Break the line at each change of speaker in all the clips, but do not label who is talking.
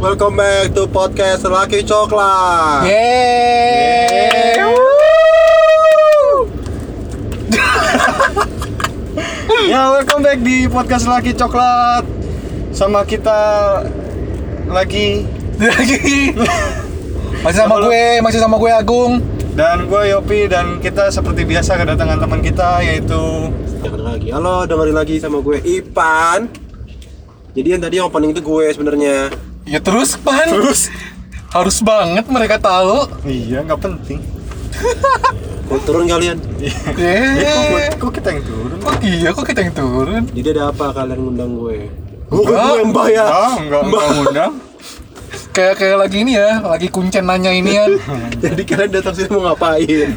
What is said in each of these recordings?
Welcome back to podcast Laki Coklat.
Yeay.
Ya, welcome back di podcast Laki Coklat. Sama kita lagi
Lagi. Masih sama gue, masih sama gue Agung.
dan gue Yopi dan kita seperti biasa kedatangan teman kita yaitu
Dengerin lagi. Halo, dengerin lagi sama gue Ipan. Jadi yang tadi yang opening itu gue sebenarnya.
Ya terus pan. Terus. Harus banget mereka tahu.
Iya, nggak penting.
Mau turun kalian.
Eh, kok,
Yeay.
gua- kok kita yang turun? Oh,
Kok iya kok kita yang turun?
Jadi ada apa kalian ngundang gue?
Enggak.
Gue yang bayar.
Ah, enggak, enggak ngundang.
Kayak kayak lagi ini ya, lagi kuncen nanya ya. inian.
Jadi kalian datang sini mau ngapain?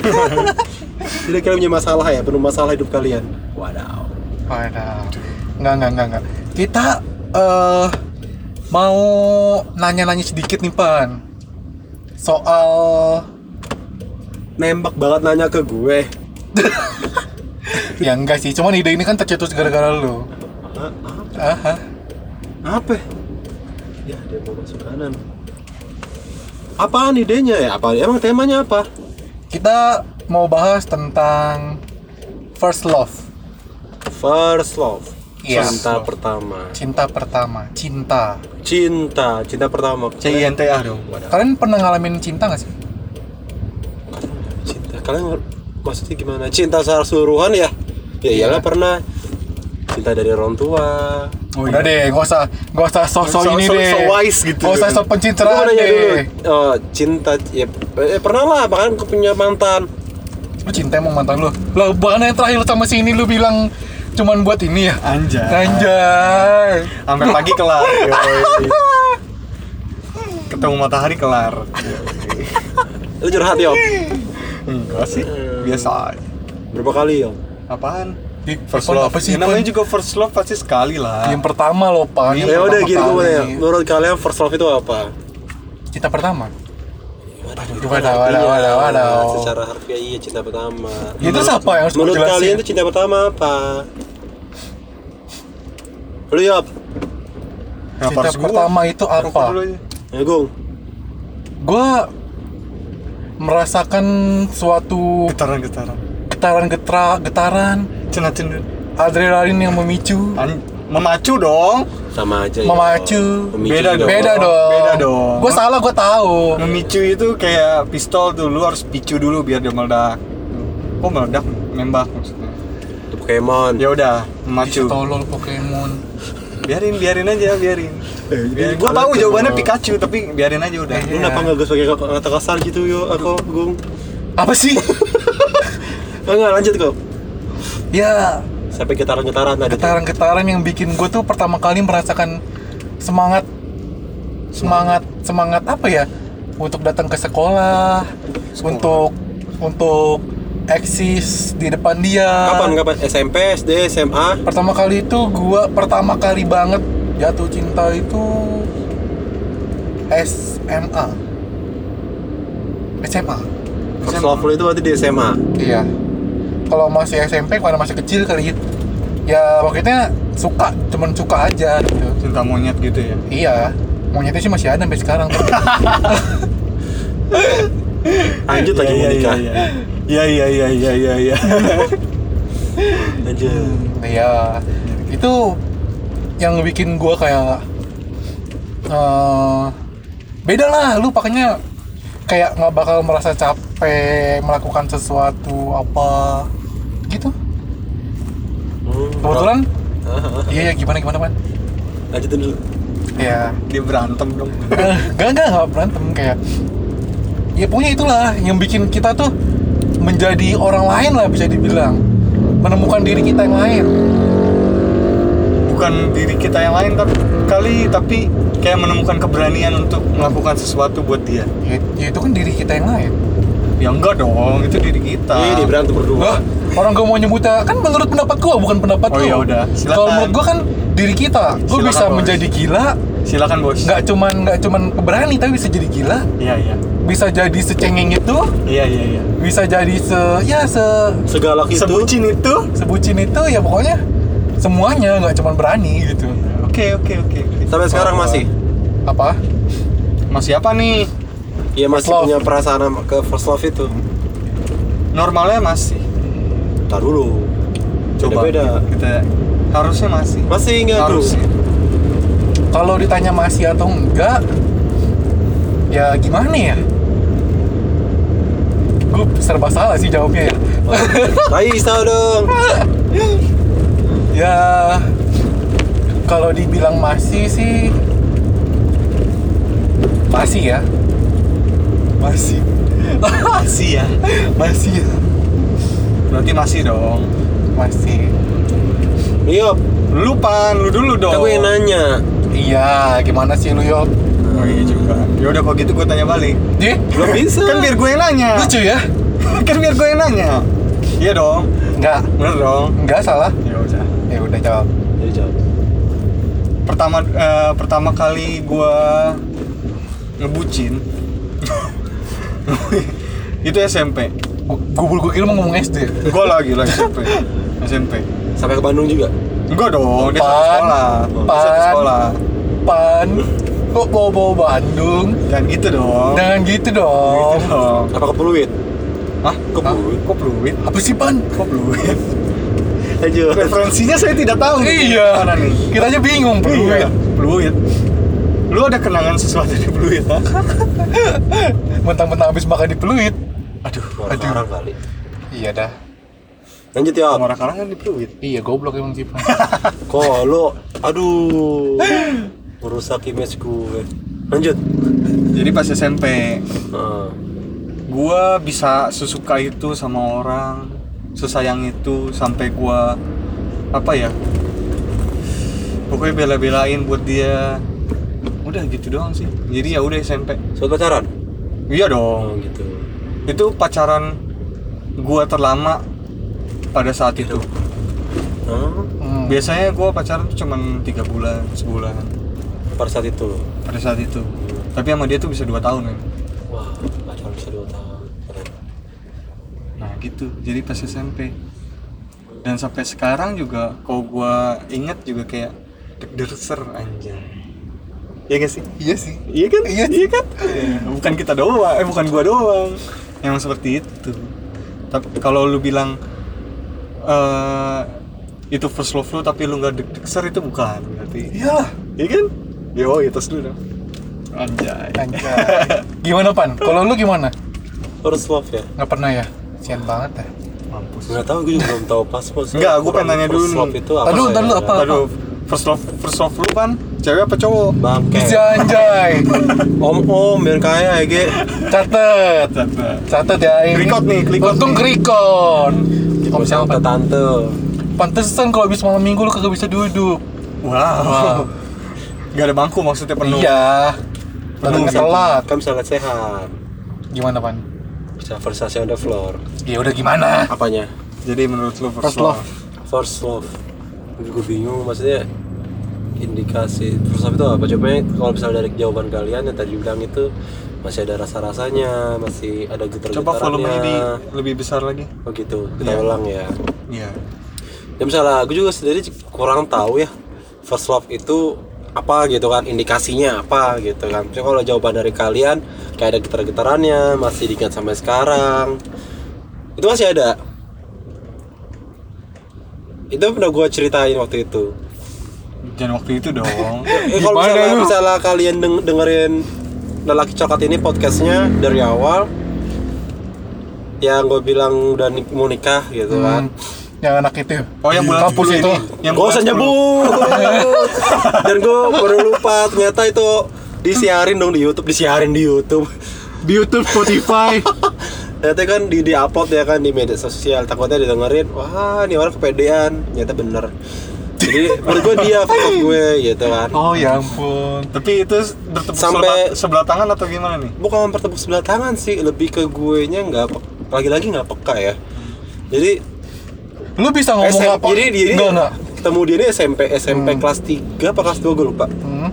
Jadi kalian punya masalah ya, penuh masalah hidup kalian. Wadaw.
Wadah. Enggak, enggak, enggak, enggak. Kita eh mau nanya-nanya sedikit nih, Pan. Soal
Nembak banget nanya ke gue.
ya enggak sih, cuman ide ini kan tercetus gara-gara lu.
Ah, ah,
Aha.
apa? Ya, dia mau masuk kanan. Apaan idenya ya? Apa emang temanya apa?
Kita mau bahas tentang first love,
First love.
Iya.
Cinta
First love.
pertama.
cinta pertama, cinta.
Cinta, cinta pertama.
CINTA dong.
Kalian pernah ngalamin cinta nggak sih?
Cinta. Kalian maksudnya gimana? Cinta secara keseluruhan ya? Ya iyalah pernah. Cinta dari orang tua.
Udah deh, nggak usah, nggak usah sosok
Oh, iya. So-
ini
so-
deh.
so wise gitu.
Nggak usah sok
Gue mau
pencitraan
nanya dulu.
deh.
Oh, cinta ya, eh, pernah lah bahkan aku punya mantan.
Lu cinta emang mantan lu? Lah bukannya yang terakhir sama si ini lu bilang cuman buat ini ya?
Anjay.
Anjay.
Sampai pagi kelar. yoi. Ketemu matahari kelar.
Lu curhat ya? Om?
Enggak sih, biasa aja.
Berapa kali ya? Om?
Apaan?
Di
First love.
apa sih?
Ya, namanya Iya, juga first love pasti sekali lah.
yang pertama lo pan. Yang
Ya udah
pertama
gitu,
gini gue mau
kali.
nanya. Menurut kalian first love itu apa?
Cinta pertama.
Waduh,
itu kan wadah,
artinya.
wadah, wadah.
Secara harfiah iya cinta pertama.
Ya terus apa yang harus gue
Menurut
jelasin?
kalian itu cinta pertama apa? Lu yop,
Kenapa
cinta
harus gua?
pertama itu apa?
Rokok dulu aja.
Agung.
Gue merasakan suatu
Getaran getaran.
getaran getara getaran
Cenat cendut.
adrenalin yang memicu
An- memacu dong.
Sama aja.
Memacu.
Memicu
Beda
juga.
dong.
beda dong
Beda dong.
gue salah gue tahu
Memicu itu kayak pistol dulu harus picu dulu biar dia meledak. Oh meledak, nembak maksudnya.
Itu Pokemon.
Ya udah,
Ih,
memacu.
tolol Pokemon
Biarin, biarin aja, biarin.
Eh, jadi
biarin. Gua tahu
kalian
jawabannya
kenal.
Pikachu tapi biarin aja udah.
Lu kenapa nggak gue sebagai kata kasar gitu yo aku Gung?
apa sih
Enggak lanjut kok.
ya
Sampai getaran-getaran tadi. tuh.
getaran-getaran yang bikin gue tuh pertama kali merasakan semangat semangat semangat apa ya untuk datang ke sekolah, untuk untuk eksis di depan dia
Kapan kapan SMP, SD, SMA?
pertama kali itu gua pertama kali banget jatuh cinta itu SMA SMA
First love lu itu berarti di SMA.
iya kalau masih SMP karena masih kecil kali itu ya maksudnya suka cuman suka aja gitu
Cinta monyet gitu ya.
iya monyetnya sih masih ada sampai sekarang tuh.
Lanjut lagi mau
Iya, iya,
nikah.
iya. Iya iya iya iya iya iya.
Lanjut.
iya itu yang bikin gua kayak eh beda lah lu pakainya kayak nggak bakal merasa capek melakukan sesuatu apa gitu
Hmm,
kebetulan
ah, ah.
iya ya gimana gimana pan
Lanjutin dulu.
ya
Dia berantem dong.
gak gak nggak berantem kayak ya punya itulah yang bikin kita tuh menjadi orang lain lah bisa dibilang menemukan diri kita yang lain
bukan diri kita yang lain tapi kali tapi kayak menemukan keberanian untuk melakukan sesuatu buat dia
ya, ya itu kan diri kita yang lain
ya enggak dong itu diri kita
Ini berantem
Lah,
berdua.
orang gue mau nyebutnya kan menurut pendapat gua bukan pendapat
Oh,
lu.
ya udah, silakan.
Kalau menurut gua kan diri kita, gua
Silakan,
bisa
Bos.
menjadi gila,
silakan bos
nggak cuman nggak cuman berani tapi bisa jadi gila,
iya iya
bisa jadi secengeng itu,
iya iya iya
bisa jadi se ya se
Segalak itu.
sebucin itu
sebucin itu ya pokoknya semuanya nggak cuman berani gitu.
oke oke oke oke.
Sampai sekarang masih.
Apa?
masih apa nih
Iya masih
love.
punya perasaan sama- ke first love itu.
normalnya masih
Ntar dulu.
coba
Beda.
kita harusnya masih
Masih nggak tuh?
harusnya
Kalau ditanya masih atau enggak, ya gimana ya? Gue serba salah sih jawabnya ya.
Raisa dong.
Ya, kalau dibilang masih sih, masih ya. Masih.
masih ya
Masih ya.
berarti masih dong
Masih.
Iya,
lu pan lu dulu dong
kan gue yang nanya.
Iya, gimana sih lu, Yop?
oh iya juga yaudah kalau gitu gue tanya balik
Ji,
Belum bisa.
kan biar gue yang nanya
lucu ya?
kan biar gue yang nanya iya dong
Enggak,
bener dong
enggak salah.
ya udah
Ya udah jawab.
Jadi jawab.
pertama eh, pertama kali gue ngebucin itu SMP
Gue gue kira mau ngomong SD.
gue lagi lagi SMP SMP
Sampai ke Bandung juga.
enggak dong dia satu
Pan.
sekolah dia satu
Pan.
sekolah
Pan, kok bawa-bawa Bandung?
jangan gitu dong
Jangan gitu
gitu
dong.
dong
Apa ke Peluit?
Hah?
Ke
Hah?
Peluit.
Kok peluit?
Apa sih Pan?
Kok peluit?
Aja.
Referensinya saya tidak tahu. nih.
Iya.
Mana nih?
Kita aja bingung
Peluit.
peluit.
Peluit. Lu ada kenangan sesuatu di peluit, ha?
Mentang-mentang habis makan di peluit.
Aduh,
Aduh. Orang kali.
Iya dah.
Lanjut ya.
Orang-orang kan di peluit.
Iya goblok emang sih Pan.
Kok lo aduh. Merusak image gue. Lanjut. Ah.
Jadi pas SMP,
Heeh.
gua bisa sesuka itu sama orang, sesayang itu sampai gua apa ya? Pokoknya bela-belain buat dia. Udah gitu doang sih. Jadi ya udah SMP.
Soal pacaran?
Iya dong.
Oh gitu.
itu pacaran gua terlama pada saat itu
Hah?
Hmm.
biasanya gua pacaran tuh cuman tiga bulan sebulan
Pada saat itu.
pada saat itu tapi sama dia tuh bisa dua tahun kan
Wah, pacaran bisa dua tahun. Keren.
nah gitu jadi pas SMP dan sampai sekarang juga kalau gua inget juga kayak deg-derser anjay Iya gak sih?
Iya sih.
Iya kan?
Iya.
kan? bukan kita doang, eh bukan gua doang. Emang seperti itu. Tapi kalau lu bilang eh itu first love lu tapi lu nggak deg-degser itu bukan berarti.
Iyalah.
Iya kan? Yo, ya terus dulu dong. Anjay.
Anjay. Gimana Pan? Kalau lu gimana?
First love ya?
Nggak pernah ya? Sian banget ya.
Mampus.
Nggak tahu gue juga belum tahu pas pas.
Nggak, gua pengen nanya dulu
First love
nih.
itu apa?
Tadu,
ya?
tadu, apa?
Aduh, first love first love lu kan cewek apa cowok?
Bangke.
Janjay.
Om om biar kaya ya ge.
Catet. Catet ya ini.
Record nih, record
Untung
nih.
record. Om
Gua
siapa?
sama tante.
Pantesan kalau habis malam minggu lu kagak bisa duduk.
Wow. Gak ada bangku maksudnya penuh.
Iya. Tadi
Penuh,
nggak
gitu.
telat.
Kamu sangat sehat.
Gimana pan?
Bisa versasi on the floor.
Ya udah gimana?
Apanya?
Jadi menurut lu first,
First love.
love.
First love. Gue bingung maksudnya indikasi first love itu apa? Coba kalau misalnya dari jawaban kalian yang tadi bilang itu masih ada rasa-rasanya, masih ada getar-getarannya.
Coba volumenya di
Iya.
lebih besar lagi.
Oh gitu, kita
Iya.
ulang ya.
Iya.
Ya misalnya gue juga sendiri kurang tahu ya first love itu apa gitu kan indikasinya apa gitu kan. Tapi kalau jawaban dari kalian kayak ada getar-getarannya, masih diingat sampai sekarang. Itu masih ada. Itu udah gue ceritain waktu itu.
Jangan waktu itu dong.
Eh, kalau
Gimana
misalnya,
lu?
misalnya kalian deng- dengerin lelaki coklat ini podcastnya dari awal yang gue bilang udah nik- mau nikah gitu kan
Hmm, yang anak itu.
Oh yang bulan
kampus
10
itu.
ini. Yang
gue
bulan
usah
10.
nyebut dan gue baru lupa ternyata itu disiarin dong di YouTube disiarin di YouTube
Di YouTube Spotify.
ternyata kan di di upload ya kan di media sosial takutnya didengerin wah ini orang kepedean ternyata bener jadi menurut gue dia foto gue gitu kan
oh ya ampun.
Tapi itu bertepuk
Sampai-
sebelah, sebelah tangan atau gimana nih?
bukan bertepuk sebelah tangan sih lebih ke gue nya nggak pe- lagi-lagi nggak peka ya jadi
Lu bisa ngomong
SM
apa? Hmm.
jadi dia ini
Nggak, nggak.
ketemu dia ini SMP SMP kelas 3 apa kelas 2 gue lupa
Hmm.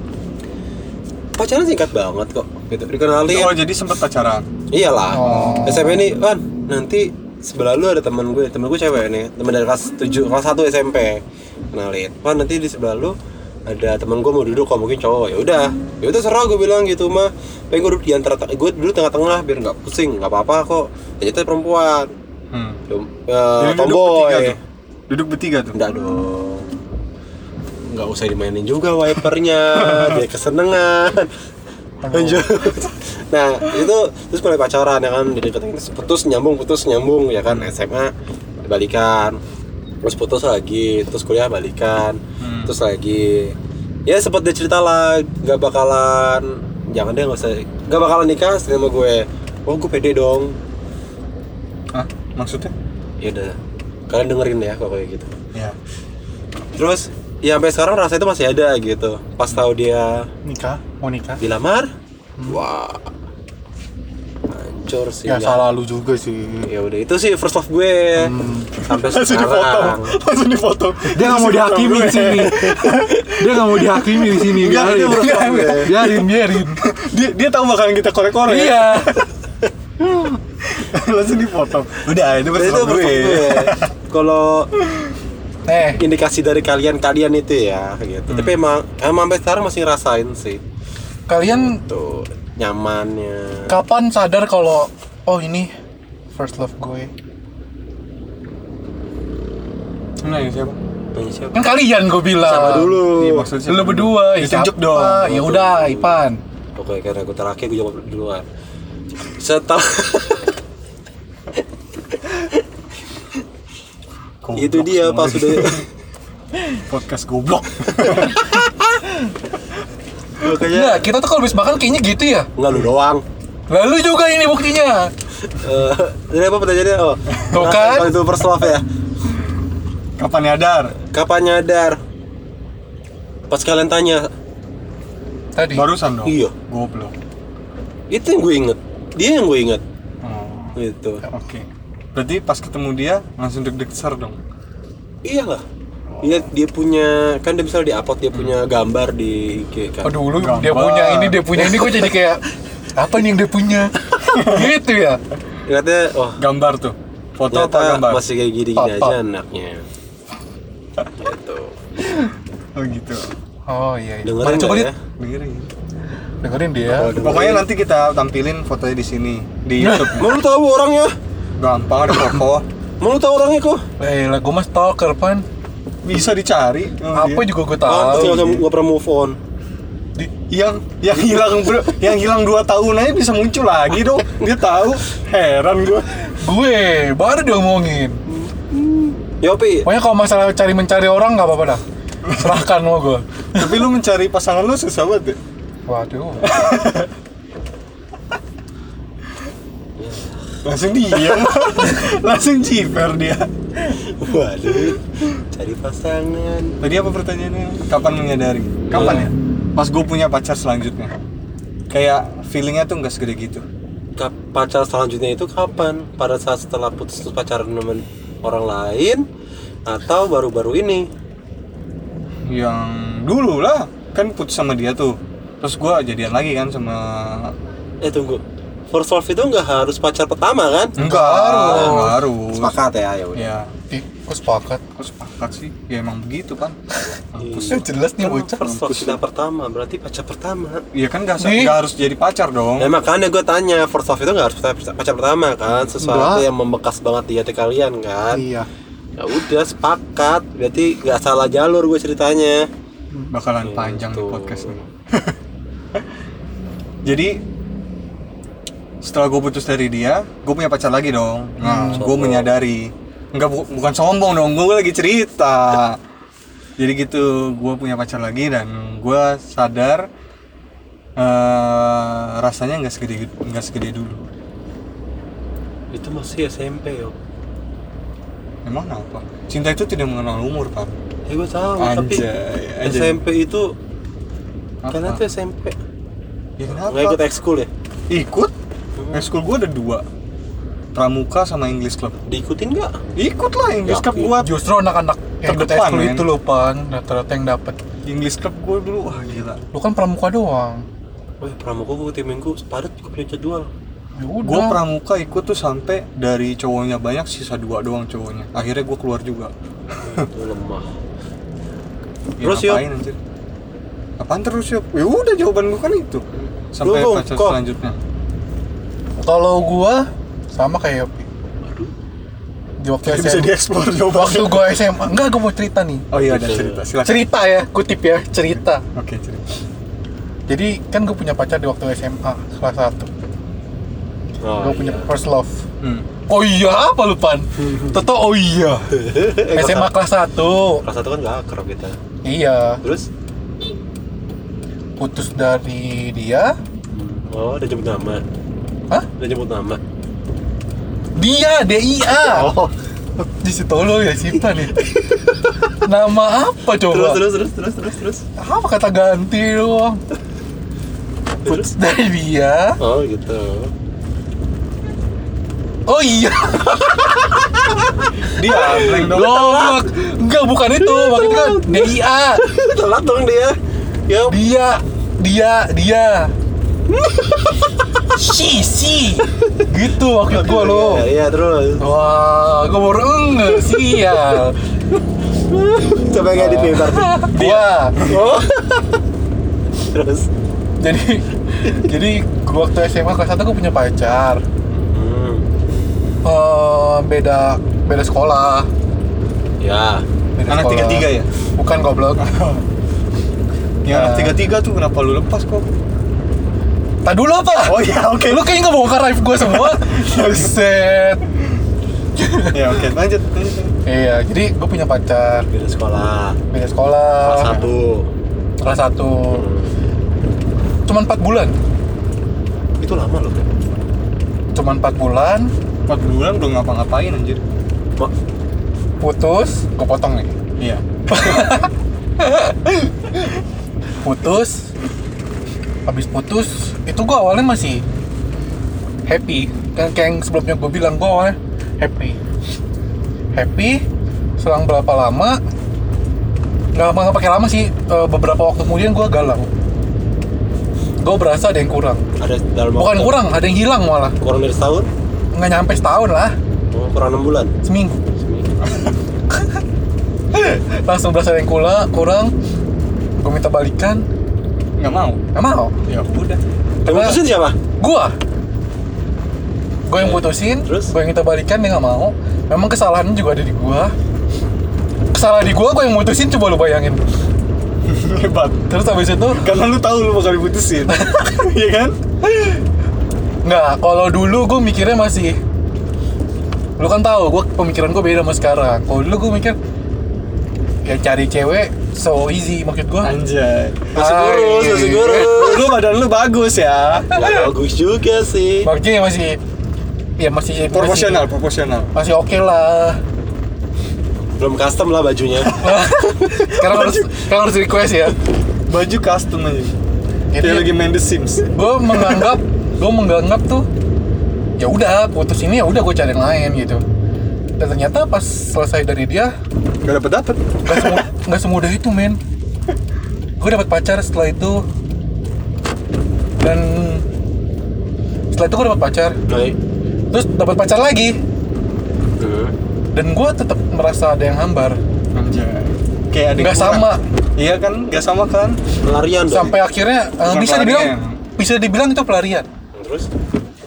pacaran singkat banget kok gitu dikenalin
Oh jadi sempat pacaran.
Iyalah.
Oh.
SMP ini kan nanti sebelah lu ada teman gue, teman gue cewek nih, teman dari kelas 7, kelas 1 SMP. Kenalin. Pan nanti di sebelah lu ada teman gue mau duduk kok mungkin cowok. Ya udah, ya udah serah gue bilang gitu mah pengen gue duduk di antara gue dulu tengah-tengah biar nggak pusing nggak apa-apa kok ternyata perempuan
Hmm.
Dom- eh,
Jadi bertiga
tomboy
tuh. Duduk bertiga tuh.
enggak dong nggak usah dimainin juga wipernya jadi kesenangan lanjut nah itu terus mulai pacaran ya kan dideketin terus putus nyambung putus nyambung ya kan SMA balikan terus putus lagi terus kuliah balikan
Hmm.
terus lagi ya sempat dia cerita lah nggak bakalan jangan deh nggak usah nggak bakalan nikah sama gue oh gue pede dong
Hah? Maksudnya?
ya udah kalian dengerin ya kalau kayak gitu
Ya.
terus ya sampai sekarang rasa itu masih ada gitu pas tahu dia
nikah mau nikah
dilamar wah hancur sih kan.
ya salah lu juga sih
ya udah itu sih first love gue sampai
langsung dipotong
sekarang
langsung dipotong
Dia nggak mau dihakimi di sini. Dia nggak mau dihakimi di sini.
Enggak,
Biarin.
itu menurut
ya.
gue.
Biarin.
biarin
Dia dia tahu bakalan kita korek-korek. ya?
Iya.
Langsung dipotong. Udah, itu
itu
bersama
first love gue
gue.
kalau
eh
indikasi dari kalian-kalian itu ya gitu tapi emang emang sampai sekarang masih ngerasain sih
kalian
tuh nyamannya
kapan sadar kalau oh ini first love gue
Nah, siapa?
Nanya siapa
kan kalian gue bilang
sama dulu
Iya, maksudnya siapa?
lu berdua ya
Ditunjuk
siapa?
dong.
ya udah Ipan
oke karena aku terakhir gue jawab duluan setelah
Goblok
itu dia
semua
pas
ini.
udah
podcast goblok.
Iya.
Enggak, kita tuh kalau habis makan kayaknya gitu ya
Enggak lu doang.
lalu juga ini buktinya
Eh, Jadi apa pertanyaannya? Oh,
Tuh kan?
Kalau itu first love ya.
Kapan ya, nyadar?
Kapan nyadar? Pas kalian tanya,
tadi
Barusan dong.
Iya.
Goblok.
itu yang gue inget. Dia yang gue inget.
Oh,
Hmm.
Gitu.
Oke. Berarti pas ketemu dia langsung deg-deg ser dong.
Iyalah. Dia dia punya kan dia misalnya di upload dia punya gambar di IG kan.
Hmm. aduh lu
Gambar.
dia punya ini dia punya ini gue jadi kayak apa nih yang dia punya gitu ya
Ternyata oh
Gambar tuh. Foto apa
ternyata
gambar?
masih kayak gini-gini
Foto.
aja anaknya. Gitu.
Oh gitu.
oh iya, iya.
Dengerin
Mana coba
nggak
dit
ya?
Dengerin.
dengerin dia
Kalau dengerin-
Pokoknya nanti kita tampilin fotonya di sini di YouTube.
Mau lu tahu orangnya?
Gampang ada foto.
Mau lu tahu orangnya kok?
eh lah gue mah stalker pan
Bisa dicari. Oh,
apa
dia.
juga gue
Ah,
tahu
nggak nggak pernah move on.
yang yang hilang bro, yang hilang dua tahun aja bisa muncul lagi dong. Dia tahu. Heran gua.
gue baru diomongin
Yopi,
pokoknya kalau masalah cari mencari orang nggak apa-apa dah serahkan lo gue
Tapi lu mencari pasangan lu susah banget. ya?
waduh
Langsung diam. langsung ciper dia.
Waduh, cari pasangan.
Tadi apa pertanyaannya? Kapan menyadari? Kapan ya? Pas gue punya pacar selanjutnya. Kayak feelingnya tuh nggak segede gitu.
Ka- Pacar selanjutnya itu kapan? Pada saat setelah putus terus pacaran dengan orang lain atau baru-baru ini?
Yang dulu lah, kan putus sama dia tuh. Terus gue jadian lagi kan sama
Eh tunggu, first love itu nggak harus pacar pertama kan?
Hmm.
Enggak harus. Enggak harus.
Sepakat ya, ya
Iya.
udah.
Ya,
ih gue sepakat
kok sepakat sih? Ya emang begitu kan. Mampus.
Ya, jelas nih bocah
Iya. Kan First love tidak pertama, berarti pacar pertama.
Iya kan nggak
Nih.
nggak harus jadi pacar dong.
Ya makanya gue tanya, first love itu nggak harus pacar pacar pertama kan? Sesuatu
Enggak.
yang membekas banget di hati kalian kan?
iya
Ya udah sepakat, berarti nggak salah jalur gue ceritanya.
Bakalan panjang nih
Gitu.
podcast ini. jadi setelah gue putus dari dia, gue punya pacar lagi dong. Nah,
Hmm,
gue
sombong.
menyadari. Enggak bu- bukan sombong dong, gue lagi cerita. jadi gitu, gue punya pacar lagi dan gue sadar eh, rasanya nggak segede nggak segede dulu.
Itu masih SMP yo.
Emang apa? Cinta itu tidak mengenal umur, Pak.
Ya gue tahu, tapi
Anjay, anjay.
SMP itu
Apa?
karena tuh SMP
Ya, kenapa?
nggak ikut ekskul ya?
Ikut? Ekskul gue ada dua Pramuka sama English Club
Diikutin nggak?
Ikut lah English Club
Yakin.
gue
justru anak-anak yang ikut
Terdepan,
ekskul
men.
itu lo pan rata-rata yang dapet
English Club gue dulu Wah gila
lu kan pramuka doang
Wah pramuka gue tim minggu padat gue punya jadwal.
ya
Gue
udah
pramuka ikut tuh sampai dari cowoknya banyak sisa dua doang cowoknya Akhirnya gue keluar juga
Lemah.
Ya,
Terus, Yo?
ngapain, anjir? apaan terus ya ya udah jawaban gue kan itu sampai
Lu
pacar
bongkok.
selanjutnya
Kalau gua sama kayak Yopi. Di waktu
Jadi bisa
SMA.
dieksplor
Waktu
jawabannya
gua SMA. Enggak, gua mau cerita nih.
oh iya ada cerita silakan
Cerita ya, kutip ya, cerita.
oke cerita
Jadi kan gue punya pacar di waktu SMA kelas satu.
Oh, iya.
Gue punya first love.
hmm.
Oh iya apa lu pan? Toto oh iya.
Eh, kelas
SMA
satu-
kelas 1
kelas satu kan gak akrab kita.
Iya,
Terus
putus dari dia.
oh udah jemput nama.
Hah?
Udah jemput nama.
Dia DIA.
Oh,
Di situ lo ya simpan nih. Nama apa
terus
coba?
terus terus terus terus terus.
Apa kata ganti doang?
Terus.
Putus dari dia.
Oh gitu.
Oh iya.
dia Ah, blank dong
Goblok. Enggak bukan itu. Waktu
Iya,
itu kan DIA.
Telat dong dia. Ya
Dia dia dia. Si si. Gitu waktu gua lo.
Iya, Iya terus.
Wah, gua baru enggak sial.
Coba ngedit nih ntar.
Dia.
Oh. terus.
jadi jadi gua waktu SMA kelas satu gua punya pacar
Hmm.
Eh, beda beda sekolah
Ya.
beda
anak tiga
sekolah.
tiga ya
bukan goblok
yang anak
Nah.
tiga tiga Ya, tuh kenapa lu lepas kok
tak dulu apa
oh iya oke
lu kayaknya ngebongkar live gua semua set
ya oke lanjut lanjut
iya jadi gua punya pacar
Beda sekolah.
beda sekolah
Kelas satu. Hmm.
kelas satu cuman 4 bulan
Itu lama loh.
cuman 4 bulan
empat bulan belum ngapa-ngapain anjir
Mak,
putus gua potong nih
iya
putus habis putus itu gue awalnya masih happy kan kayak yang sebelumnya gue bilang gue awalnya happy happy selang berapa lama nggak nggak pakai lama sih eh, beberapa waktu kemudian gue galau gue berasa ada yang kurang
ada dalam
bukan
waktu-
kurang ada yang hilang malah
kurang dari setahun
nggak nyampe setahun lah
oh, kurang enam bulan
seminggu langsung berasa ada yang kurang kurang gue minta balikan
nggak mau
nggak mau
ya udah
kamu
Karena-
putusin siapa
gua gua yang putusin
Iya. Terus?
gua yang minta balikan dia nggak mau memang kesalahannya juga ada di gua kesalahan di gua gua yang mutusin coba lu bayangin
hebat
terus habis itu
karena lu tahu lu bakal diputusin iya kan
nggak kalau dulu gua mikirnya masih lu kan tahu gua pemikiran gua beda sama sekarang kalau dulu gua mikir ya cari cewek so easy maksud gua Ah, iya,
masih kurus
Hai.
anjay
masih kurus
lu badan lu bagus ya
Gak bagus juga sih
maksudnya masih ya masih masih-
proporsional proporsional
masih oke lah
belum custom lah bajunya
sekarang harus sekarang harus request ya
baju custom aja
Jadi-
kayak lagi main The Sims
gue menganggap gue menganggap tuh ya udah putus ini ya udah gue cari yang lain gitu dan ternyata pas selesai dari dia
gak dapet dapet
nggak semu- nggak semudah itu men gue dapat pacar setelah itu dan setelah itu gue dapat pacar
baik
terus dapat pacar lagi
Hmm.
dan gue tetap merasa ada yang hambar
anjay kayak ada yang
nggak
kurang.
sama
iya kan gak sama kan
pelarian dong
sampai akhirnya eh,
Bukan
bisa dibilang
pelarian.
bisa dibilang itu pelarian
terus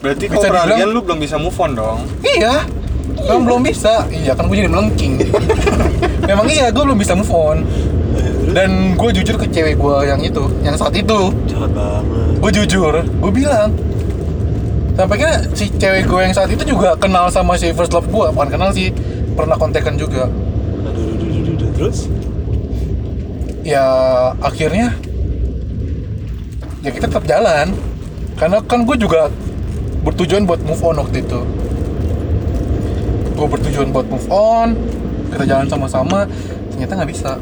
berarti
Bisa
kalau peralihan
dibilang-
lu belum bisa move on dong
Iya. Kan belum bisa. Iya kan gue jadi melengking. Memang iya, gue belum bisa move on. Dan gue jujur ke cewek gue yang itu, yang saat itu,
jahat banget
gue jujur, gue bilang. Sampai kira si cewek gue yang saat itu juga kenal sama si first love gue, bukan kenal sih, pernah kontekan juga.
aduh aduh aduh, aduh, aduh. terus
Ya akhirnya ya kita tetap jalan, karena kan gue juga bertujuan buat move on waktu itu. gue bertujuan buat move on kita jalan sama-sama ternyata nggak bisa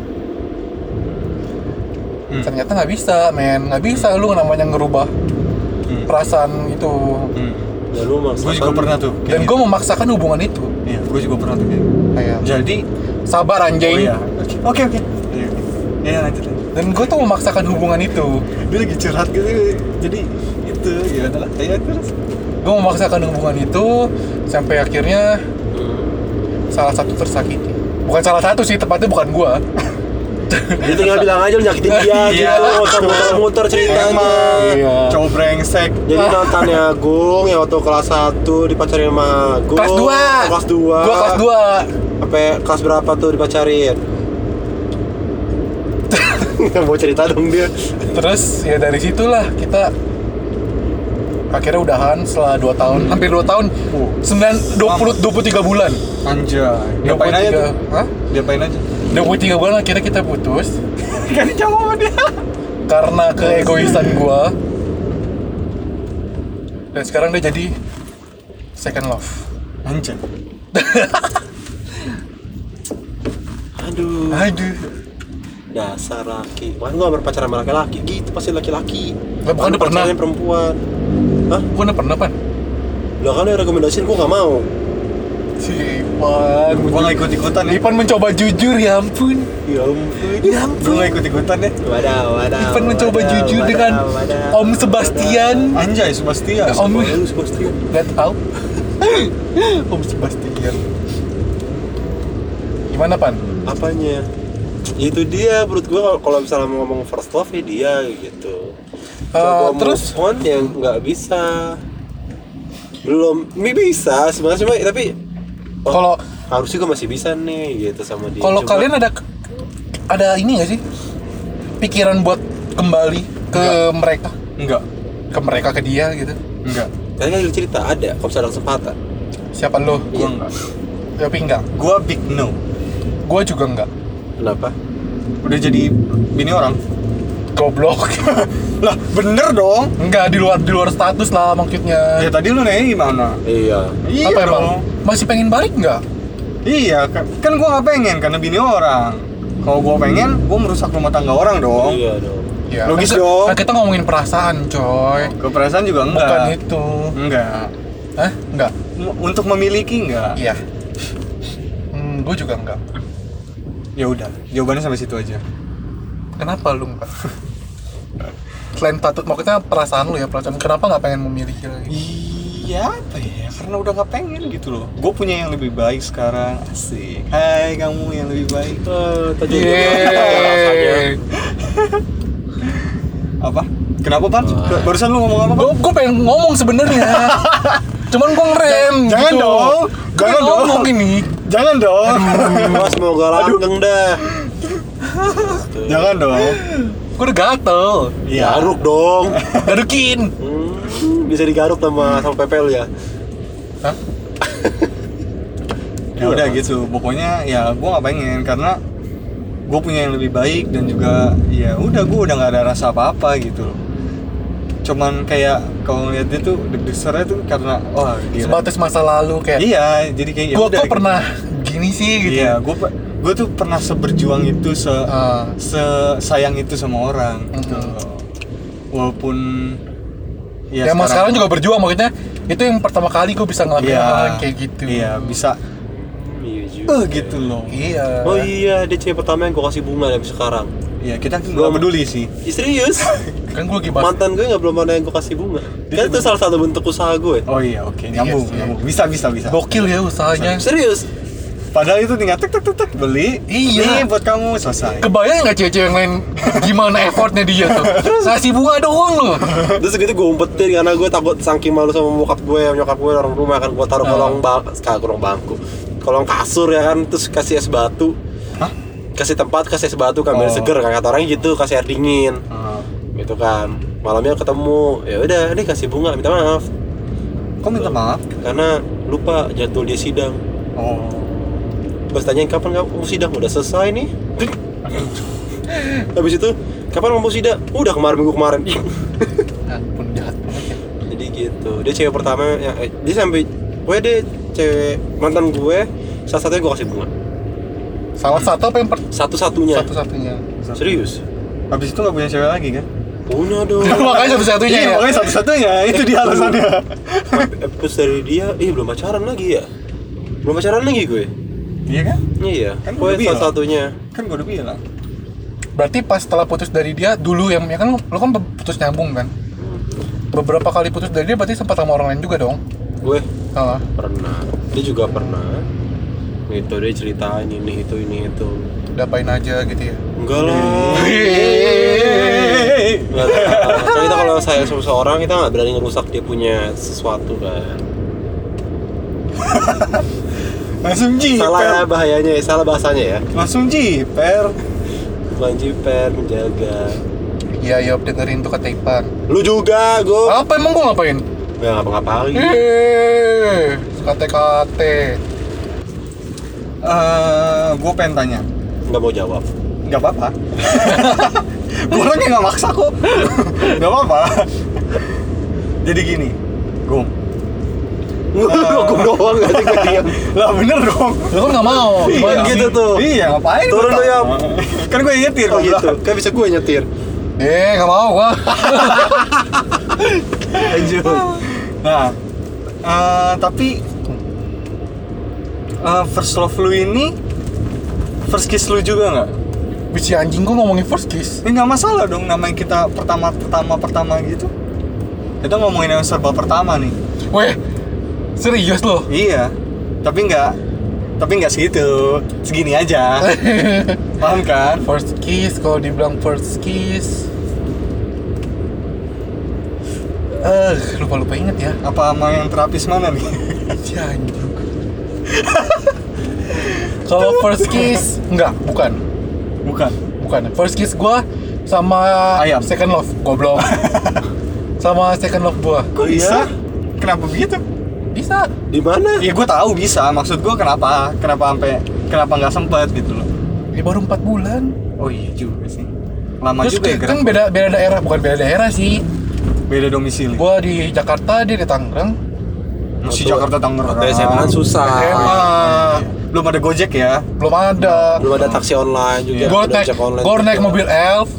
Hmm.
ternyata nggak bisa men nggak bisa lu namanya ngerubah
hmm.
perasaan itu
hmm.
dan Ya, lu
gue
maksakan
juga pernah tuh kayak
dan
gitu.
gue memaksakan hubungan itu
iya gue juga pernah tuh kayak gitu.
kayak
jadi
sabar
oh
anjing
iya oke oke oke Iya, oke. iya lanjut lanjut
dan gue tuh memaksakan hubungan itu
dia lagi curhat gitu jadi itu ya adalah kayak terus
gue memaksakan hubungan itu sampai akhirnya
Hmm.
salah satu tersakiti bukan salah satu sih tepatnya bukan gue
Dia tinggal bilang aja lu nyakitin dia
Iya.
gitu, nggak usah muter-muter ceritanya.
Emang
Iya.
cowok brengsek
Jadi mantannya Agung yang ya, waktu kelas 1 dipacarin sama Agung.
kelas 2
Kelas 2.
gua kelas 2
Sampai kelas berapa tuh dipacarin? Nggak mau cerita dong dia.
terus ya dari situlah kita akhirnya udahan setelah 2 tahun hampir 2 tahun
Oh.
9 20 23 bulan
anjay diapain aja
23
tuh
Hah?
diapain aja
23 bulan akhirnya kita putus
kan cowok sama dia
karena keegoisan gua dan sekarang dia jadi second love
anjay
Aduh,
aduh
dasar laki. Mana gua berpacaran sama laki-laki? Gitu pasti laki-laki.
Lah, bukan
Mana
udah pernah.
pacarnya perempuan. Hah?
gua udah pernah pan
Lah kan yang rekomendasiin gua nggak mau.
si Ipan
gua nggak ikut ikutan ya
Ipan mencoba jujur ya ampun
Ya ampun.
ya
gua
ampun
nggak ikut ikutan ya
Wadaw, wadaw.
Ipan mencoba
wadaw,
jujur
wadaw,
dengan
wadaw,
Om Sebastian
anjay Sebastian
Om
wadaw. Om Sebastian.
Gak tau Om Sebastian Gimana Pan?
apanya Ya itu dia menurut gua kalau- kalau misalnya mau ngomong first love ya dia gitu
Eh,
Coba
terus?
move on yang nggak bisa belum ini bisa sebenarnya cuma tapi oh,
Kalau-
harusnya gua masih bisa nih gitu sama dia
Kalau
Cuma
kalian ada ada ini gak sih? Pikiran buat kembali ke mereka,
enggak
ke mereka ke dia gitu.
enggak
tadi kan udah cerita ada kalau misalnya ada kesempatan
Siapa lo? Ya,
gua enggak
Tapi enggak.
gua big no
Gua juga enggak.
kenapa
udah jadi bini orang
Goblok.
lah bener dong
enggak di luar di luar status lah maksudnya.
ya tadi lu nanya gimana
iya
iya
Apa emang?
dong
Masih pengen balik enggak?
iya kan, kan gua nggak pengen karena bini orang kalau gua pengen gua merusak rumah tangga orang dong
iya dong
Ya,
Logis
kan-
dong.
kan kita ngomongin perasaan, coy.
keperasaan juga enggak
Bukan itu.
enggak
Hah? Enggak.
M- untuk memiliki enggak
Iya. Hmm, gue juga enggak.
ya udah jawabannya sampai situ aja
Kenapa lu enggak? Selain patut, maksudnya perasaan lu ya perasaan. Kenapa nggak pengen memiliki lagi?
iya apa ya karena udah nggak pengen gitu loh gue punya yang lebih baik sekarang asik hai kamu yang lebih baik
Eh, tadi
Iya.
Yeay.
apa kenapa pan Ke- barusan lu ngomong apa pan
gue gue pengen ngomong sebenarnya cuman gue ngerem
Jangan
gitu.
dong.
Gua
Jangan
pengen ngomong
dong.
ini
jangan dong
Wah, semoga langgeng dah.
jangan dong Iya.
gue udah gatel
Iya, Garuk dong.
gadukin
Hmm, bisa digaruk sama sama pepel ya.
Hah?
ya udah gitu pokoknya ya gue nggak pengen karena gue punya yang lebih baik dan juga ya udah gue udah nggak ada rasa apa apa gitu loh cuman kayak kalau ngeliat dia tuh deg-degannya tuh karena wah gila
sebatas masa lalu kayak
iya jadi kayak ya
gue
udah
kok
gitu.
pernah gini sih gitu
Iya, gue gue tuh pernah seberjuang itu, se
Ah.
sayang itu sama orang. Gitu.
Mhm.
loh. Walaupun
ya, emang sekarang juga berjuang maksudnya itu yang pertama kali gue bisa ngelakuin
Iya,
hal kayak gitu
Iya, bisa
Iya juga.
eh gitu loh.
iya
Oh iya, dia cewek pertama yang gue kasih bunga dari sekarang.
Iya, kita nggak peduli sih.
Serius?
kan gue lagi bahas
Mantan gue nggak belum ada yang gue kasih bunga. Kan
Dia
itu salah satu bentuk usaha gue.
Oh iya, oke, nyambung,
sih.
nyambung. Bisa, bisa, bisa.
gokil ya usahanya
Serius?
Padahal itu tinggal tek tek tek tek beli.
Iya.
Nih buat kamu selesai.
kebayang nggak cewek-cewek yang lain gimana effortnya dia tuh ngasih bunga doang loh
Terus gitu gue umpetin karena gue takut saking malu sama bokap gue, nyokap gue orang rumah kan gue
Ah.
taruh kolong bang, sekarang kolong bangku, kolong kasur ya kan, terus kasih es batu,
Hah?
kasih tempat, kasih es batu kan biar
Oh.
seger kan kata orangnya gitu, kasih air dingin,
Ah,
gitu kan. Malamnya ketemu, ya udah, nih kasih bunga, minta maaf,
kok minta maaf?
karena lupa jadwal dia sidang.
Oh.
Pas tanyain kapan kamu mau sidang udah selesai nih. Habis itu kapan mau sidang? Udah kemarin minggu kemarin.
ampun jahat banget ya
Jadi gitu. Dia cewek pertama yang eh, dia sampai gue dia cewek mantan gue salah satunya gue kasih bunga.
salah satu apa yang per-
Satu-satunya.
satu-satunya
Serius?
Habis itu nggak punya cewek lagi kan?
Punya dong.
makanya satu-satunya
Iya,
ya
makanya satu-satunya itu dia alasannya.
Terus dari dia, ih belum pacaran lagi ya? Belum pacaran lagi gue.
Iya kan?
Iya.
Kan
gue
udah bilang.
satu-satunya.
Kan gue udah bilang.
berarti pas setelah putus dari dia dulu yang ya kan lu- lu kan be- putus nyambung kan beberapa kali putus dari dia berarti sempat sama orang lain juga dong
Gue
Salah.
pernah. Dia juga pernah. gitu dia ceritain ini itu ini itu
Dapain aja gitu ya.
enggak lah iya,
Iya,
iya.
Nggak tahu. Soalnya kita kalau sayang sama seseorang kita nggak berani ngerusak dia punya sesuatu kan
langsung
salah ya
jiper
bahayanya ya salah bahasanya ya
langsung jiper
bukan jiper menjaga
Iya, ya dengerin tuh kata Ipan.
lu juga gue
Apa emang gua ngapain?
nggak ngapa-ngapain
Hmm. Eh, kate-kate.
eh gue pengen tanya
nggak mau jawab
nggak apa-apa gue orangnya nggak maksa kok nggak apa-apa jadi gini gum
gue doang gak sih gue diem
lah bener dong
Lu kan nggak mau.
Cuman
gimana sih?
gitu tuh
iya ngapain
Turun
gua
lu,
tak-
Yop.
kan gue nyetir
oh
gua
gitu
bilang.
kan bisa gue nyetir
Eh, nggak mau gua.
lanjut
nah eh, tapi eh, first love lu ini first kiss lu juga nggak
Bisi anjing gua ngomongin first kiss.
ini Ya, nggak masalah dong namanya kita pertama pertama pertama gitu kita ngomongin yang serba pertama nih
Weh, serius lo?
Iya, tapi nggak, tapi nggak segitu, segini aja, paham kan?
first kiss, kalau dibilang first kiss. Eh, lupa-lupa inget ya.
Apa sama yang terapis mana nih?
Si anjing. Kalau first kiss, enggak, bukan.
Bukan.
Bukan. First kiss gua sama
Ayam.
second love, goblok. sama second love gua.
Kok bisa? Kenapa begitu?
Bisa.
di mana
Ya gue tahu bisa, maksud gue kenapa, kenapa sampai, kenapa nggak sempet gitu loh?
Ya baru 4 bulan.
Oh iya juga sih, lama
Terus
juga ya
kayak- kan
gerak.
beda beda daerah, bukan beda daerah sih.
Beda domisili.
Gua di Jakarta, dia di Tangerang.
Masih Jakarta Tangerang.
waktu SMA kan susah
SMA.
Ah, belum ada Gojek ya?
Belum ada.
belum ada taksi online
Iya,
juga
Gua
belum
naik
ojek online
gua
gitu
juga.
naik mobil elf.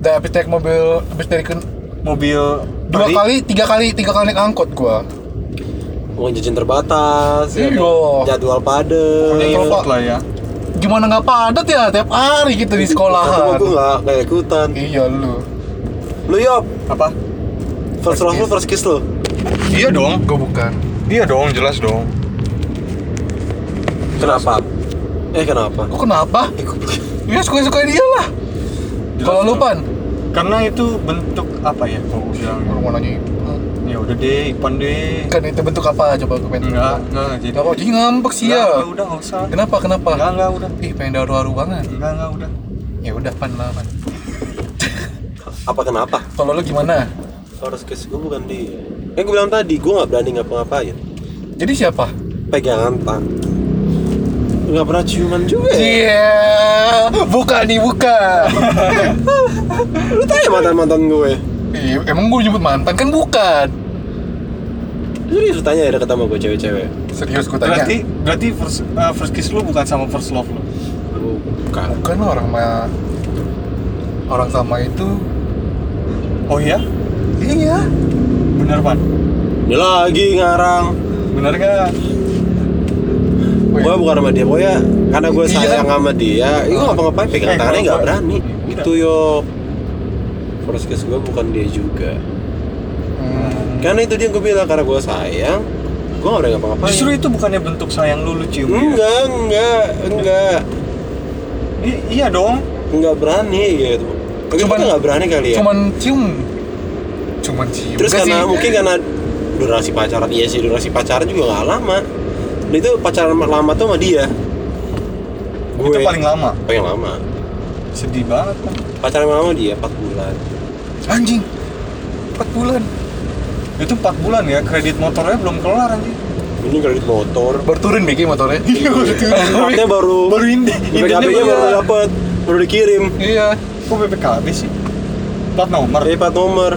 Dan habis naik mobil habis dari ken-
Mobil
dua
tadi?
kali, tiga kali, tiga kali naik angkot gua.
uang jajan terbatas ya,
Iya.
jadwal
Pokoknya
padat
ikut lah ya.
Gimana nggak padat ya tiap hari gitu di sekolahan.
aku nggak kayak ikutan
Iya lu.
lu yop
Apa?
first love lu first kiss lu
Iya dong,
Gua bukan.
iya dong, jelas dong.
kenapa eh kenapa
Kok kenapa? Ya suka-suka dia lah.
Eh, Jelas
Kalau lu
dong.
pan,
Karena itu bentuk apa ya? Kalau gua bilang
Gua mau nanya
ya udah deh Ipan deh
kan itu bentuk apa coba gue pengen
enggak enggak Oh, jadi
Enggak kok Gitu. Oh, jadi ngambek sih
Enggak,
ya.
enggak, udah nggak usah
Kenapa kenapa?
enggak enggak udah
Ih pengen daru-daru banget.
enggak enggak udah
Ya udah pan lah pan.
apa kenapa
Kalau lu gimana?
first kiss gue bukan dia yang gue bilang tadi gue nggak berani ngapa-ngapain
Jadi siapa?
pegangan tangan nggak pernah ciuman juga ya
Iya, buka nih buka.
lu tanya mantan mantan ya. gue
Ih, emang gue nyebut mantan kan bukan.
serius lu tanya ya deket sama gue cewek-cewek
Serius gue tanya.
berarti berarti first eh, first kiss lu bukan sama first love lu
bukan
bukan lah orang sama orang sama itu.
oh iya
Iya.
bener pan
dia lagi ngarang
bener gak
Weh,
gue bukan sama dia pokoknya karena gue
Iya.
sayang sama dia itu
Ah.
ngapa-ngapain pegangan
Eh,
tangannya
kalau
nggak
gua-
berani
Iya.
itu yo first kiss gue bukan dia juga
hmm,
karena itu dia gue bilang karena gue sayang gue nggak berani ngapa-ngapain
justru itu bukannya bentuk sayang lu lu cium dia?
enggak enggak enggak
I- iya dong
enggak berani gitu mungkin
Cuman-
kita nggak berani kali ya
Cuman cium. Cuman cium.
terus
Enggak
karena
sih.
mungkin karena durasi pacaran iya sih durasi pacaran juga nggak lama Dan itu pacaran lama tuh sama dia gue
itu paling lama
paling lama
sedih banget kan
pacaran lama sama dia 4 bulan
anjing 4 bulan
itu 4 bulan ya kredit motornya belum kelar anjing
ini kredit motor
baru turun Begi motornya
Iya, Tempatnya baru
baru ini
PKB nya baru dapet baru dikirim
iya
kok BPKB sih plat nomor
dari plat nomor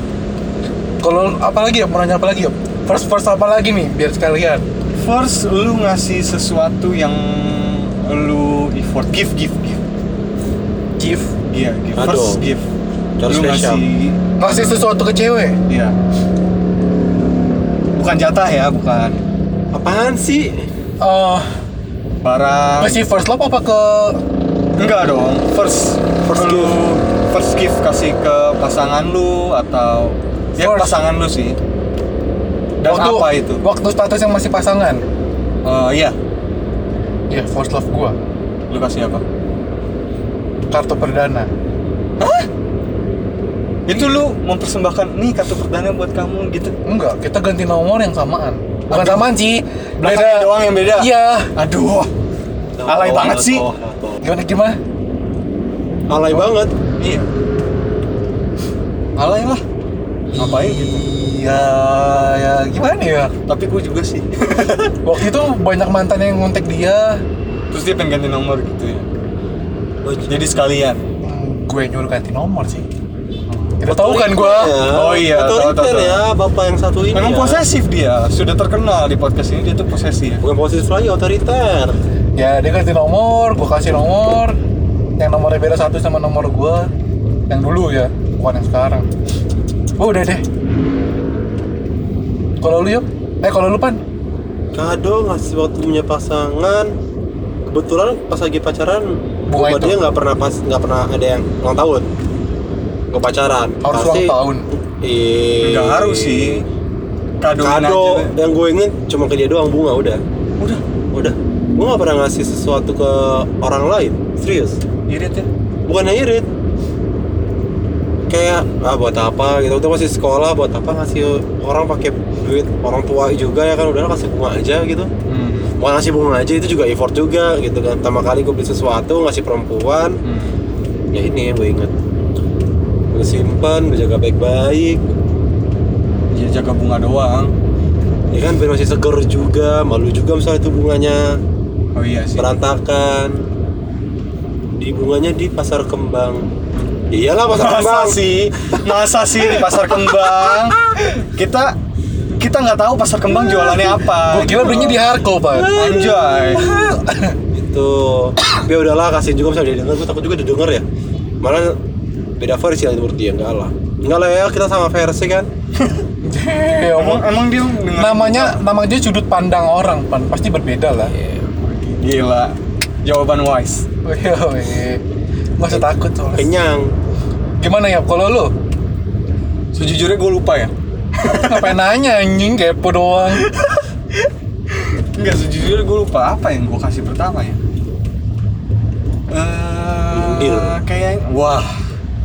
kalau apa lagi ya mau nanya apa lagi ya first first apa lagi nih biar sekalian
First, lu ngasih sesuatu yang lu effort, give, give, give.
gift
Iya, give.
Aduh.
First, give.
Cara
lu
spesial.
ngasih,
ngasih sesuatu ke cewek
iya. Bukan jatah ya, bukan.
apaan sih
Eh,
Barang.
ngasih first love apa ke
Enggak dong. First,
First
lu,
give.
First give kasih ke pasangan lu atau ya
First.
pasangan lu sih. Dan
waktu
apa itu?
waktu status yang masih pasangan
Eh, iya.
ya first love gua
Lu kasih apa?
kartu perdana
Itu lu mempersembahkan nih kartu perdana buat kamu gitu.
enggak kita ganti nomor yang samaan bukan samaan sih
Belakangnya doang yang beda?
iya
Aduh. Alay banget sih.
gimana gimana
Alay banget.
Iya. Alay lah. Ngapain gitu?
iya ya gimana ya
Tapi gue juga sih.
waktu itu banyak mantan yang ngontek dia
Terus dia pengen ganti nomor gitu ya.
Oh, j-
Jadi sekalian.
Hmm, gue nyuruh ganti nomor sih kita tahu kan gua
Ya,
Oh iya, tahu,
Otoriter
tahu, tahu.
ya, bapak yang satu ini.
Memang
ya.
posesif dia. Sudah terkenal di podcast ini dia tuh posesif.
Bukan posesif lagi, otoriter.
ya dia ganti nomor gue kasih nomor yang nomornya beda satu sama nomor gue yang dulu ya bukan yang sekarang oh, udah deh kalau lu yuk eh kalau lu pan
Kado ngasih waktu punya pasangan. Kebetulan pas lagi pacaran,
Bunga
gua
itu.
dia nggak pernah pas nggak pernah ada yang ulang tahun. Gak pacaran.
Harus ulang tahun.
Iya.
Enggak harus sih. Kadoin
Kado
aja.
yang gue inget cuma ke dia doang bunga udah.
Udah,
Udah. Gue nggak pernah ngasih sesuatu ke orang lain. Serius.
irit ya.
bukan irit kayak ah buat apa gitu itu masih sekolah buat apa ngasih orang pakai duit orang tua juga ya kan udah kasih bunga aja gitu
Hmm.
bukan ngasih bunga aja itu juga effort juga gitu kan pertama kali gue beli sesuatu ngasih perempuan
Hmm.
ya ini yang gue inget gue simpan gue jaga baik-baik
Ya jaga bunga doang.
ya kan biar masih seger juga malu juga misalnya itu bunganya
Oh iya sih.
berantakan di bunganya di pasar kembang Ya iyalah pasar
Masa
kembang
sih? Masa sih di pasar kembang? Kita kita nggak tahu pasar kembang jualannya apa. Gitu.
gue kira belinya di Harko pan
Anjay.
itu ya udahlah kasihin juga misalnya dia denger gue takut juga dia denger ya malah beda versi lah menurut dia enggak lah enggak lah ya kita sama versi kan
Jee,
Emang,
omong.
emang dia dengan
Iya, Nah. namanya nama dia sudut pandang orang pan pasti berbeda lah
Iya. gila. Jawaban wise.
oh, iya, iya. nggak usah takut soalnya
kenyang
gimana ya kalau lu
Sejujurnya gue lupa ya.
ngapain nanya anjing kepo doang
Enggak sejujurnya gue lupa apa yang gue kasih pertama ya.
Indir.
Eh kayak wah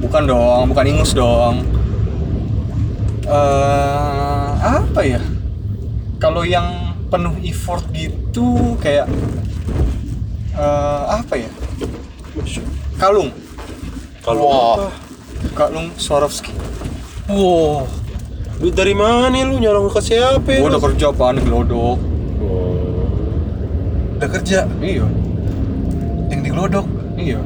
bukan dong bukan ingus dong. Eh apa ya? Kalau yang penuh effort gitu kayak eh apa ya? Kalung,
kalau
Wah.
kalung Swarovski.
wow
duit dari mana nih lu nyolong ke siapa ya
Gue
lu?
udah kerja apaan gelodok.
udah kerja
Iya,
yang diglodok
iya.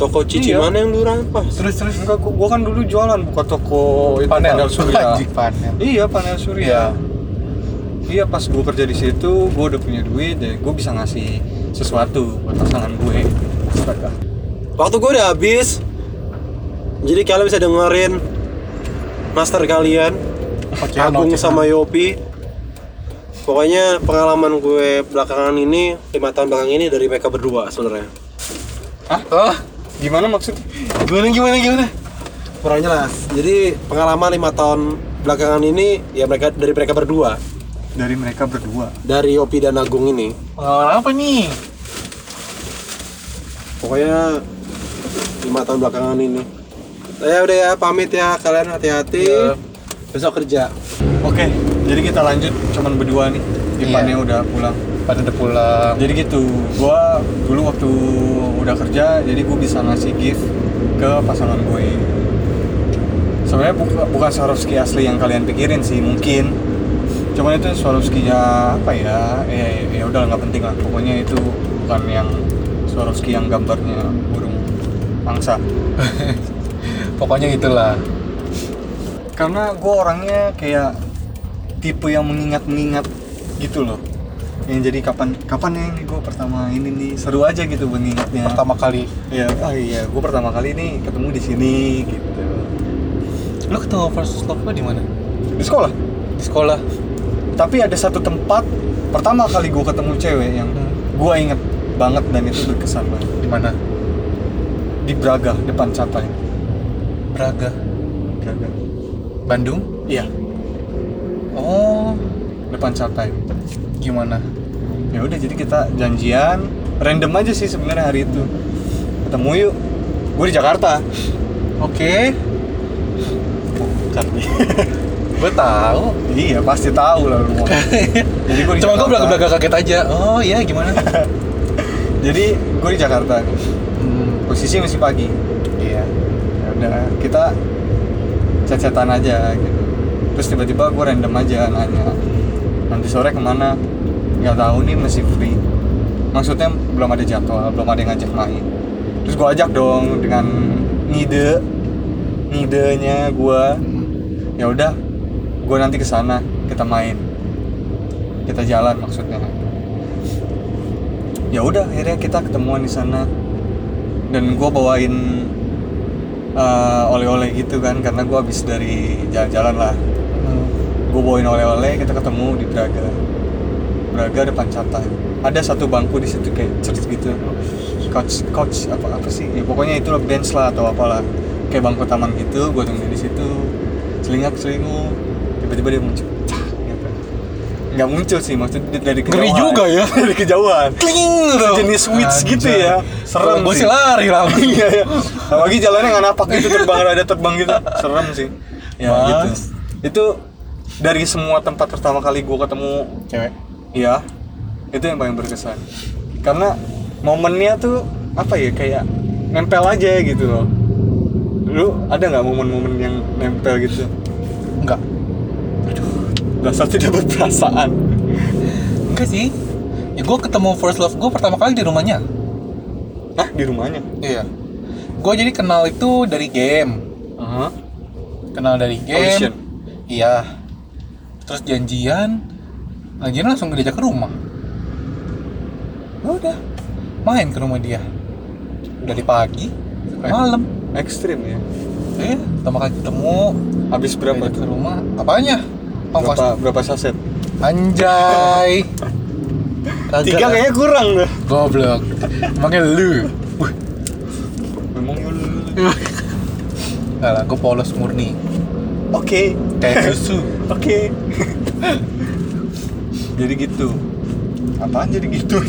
toko cici
Iya.
mana yang lu rampas
terus terus
Enggak, gua, gua kan dulu jualan buka toko itu
panel
Pandal surya.
Anjing, panel
Iya panel surya. Iya pas gue kerja di situ, gue udah punya duit, ya gue bisa ngasih sesuatu buat pasangan gue. Astaga.
waktu gue udah habis jadi kalian bisa dengerin master kalian
Ocehan,
Agung
ocehan.
sama Yopi pokoknya pengalaman gue belakangan ini lima tahun belakang ini dari mereka berdua sebenarnya
Oh,
Gimana maksudnya?
gimana gimana gimana?
kurang jelas jadi pengalaman lima tahun belakangan ini ya mereka dari mereka berdua
Dari mereka berdua.
dari Yopi dan Agung ini
Pengalaman apa nih?
pokoknya lima tahun belakangan ini saya udah ya pamit ya kalian hati-hati
Iya.
besok kerja
Oke, jadi kita lanjut cuman berdua nih. Ipannya
Iya.
udah pulang.
Pada udah pulang.
Jadi gitu, gue dulu waktu udah kerja, jadi gue bisa ngasih gift ke pasangan gue. Sebenarnya buka, bukan Swarovski asli yang kalian pikirin sih, mungkin. Cuman itu Swarovski ya apa ya? Ya, ya udah nggak penting lah. Pokoknya itu bukan yang Swarovski yang gambarnya burung angsa.
Pokoknya itulah.
Karena gue orangnya kayak tipe yang mengingat-mengingat gitu loh. Yang jadi kapan kapan ya ini gue pertama ini nih seru aja gitu mengingatnya.
Pertama kali.
Iya, ah iya, gue pertama kali nih ketemu di sini gitu.
Lu ketemu versus love di mana?
Di sekolah.
Di sekolah.
Tapi ada satu tempat pertama kali gue ketemu cewek yang gue inget banget dan itu berkesan banget
Di mana?
di Braga depan Catai.
Braga.
Braga.
Bandung?
Iya.
Oh.
depan catai
Gimana?
ya udah jadi kita janjian random aja sih sebenarnya hari itu ketemu yuk gue di Jakarta
Oke,
kan
gue tahu.
iya pasti tahu lah lu jadi gue
Cuma gue belaga-belaga kaget aja. Oh iya gimana?
jadi gue di Jakarta
Hmm,
posisi masih pagi
Iya.
ya udah kita cacatan aja gitu terus tiba-tiba gue random aja nanya nanti sore kemana nggak tahu nih masih free maksudnya belum ada jadwal belum ada yang ngajak main terus gue ajak dong dengan ngide ngidenya gue ya udah gue nanti ke sana kita main kita jalan maksudnya ya udah akhirnya kita ketemuan di sana dan gue bawain eh, oleh-oleh gitu kan karena gue habis dari jalan-jalan lah
Hmm.
gue bawain oleh-oleh kita ketemu di Braga Braga depan Catai ada satu bangku di situ kayak church gitu couch couch apa apa sih ya pokoknya itu bench lah atau apalah kayak bangku taman gitu gue tunggu di situ celingak celingu tiba-tiba dia muncul Cah, gitu. nggak muncul sih maksudnya dari kejauhan
Ngeri juga ya.
dari kejauhan
Kling gitu.
Jenis switch gitu ya. Serem
Gue
sih.
sih lari lah.
iya ya apalagi jalannya nggak napak gitu terbang ada terbang gitu serem sih ya
Mas.
gitu itu dari semua tempat pertama kali gue ketemu
Cewek.
ya itu yang paling berkesan karena momennya tuh apa ya kayak nempel aja gitu loh lu ada nggak momen-momen yang nempel gitu
Enggak.
dasar tidak berperasaan
Enggak sih. Ya gue ketemu first love gue pertama kali di rumahnya.
Hah? di rumahnya
Iya. Gue jadi kenal itu dari game.
Heeh.
Kenal dari game.
Audition.
Iya. Terus janjian. Janjian langsung diajak ke rumah. Ya Udah. Main ke rumah dia. Dari pagi sampai
Eh.
malam.
ekstrim ya
Eh, pertama kali ketemu
habis berapa
diajak ke
tuh?
rumah. Apanya?
berapa
Ongkos.
berapa saset
Anjay. Kagak
tiga
lah.
kayaknya kurang tuh
Goblok. Emangnya lu. Wih,
memang lu-
Enggak lah, gue polos murni.
Oke,
Kayak susu.
oke. jadi gitu. Apaan jadi gitu?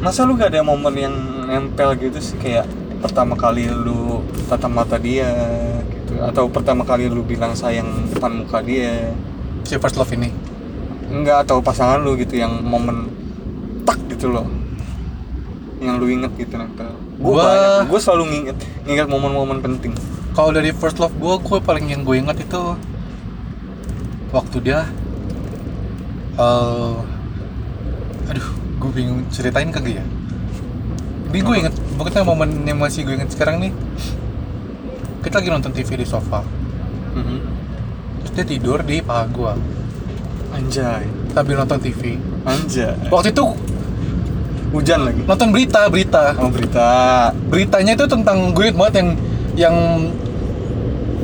Masa lu gak ada momen yang nempel gitu sih kayak pertama kali lu tatap mata dia gitu atau pertama kali lu bilang sayang depan muka dia
si first love ini
enggak atau pasangan lu gitu yang momen tak gitu loh yang lu inget gitu nempel
Gua-
gua gue selalu nginget nginget momen-momen penting
kalau dari first love gue gue paling yang gue ingat itu waktu dia eh aduh gue bingung ceritain kagak ya ini gue inget pokoknya momen yang masih gue inget sekarang nih kita lagi nonton TV di sofa
Mhm.
terus dia tidur di paha gue
anjay
sambil nonton TV
anjay
waktu itu
hujan lagi
nonton berita berita
Oh berita
beritanya itu tentang gue inget banget yang yang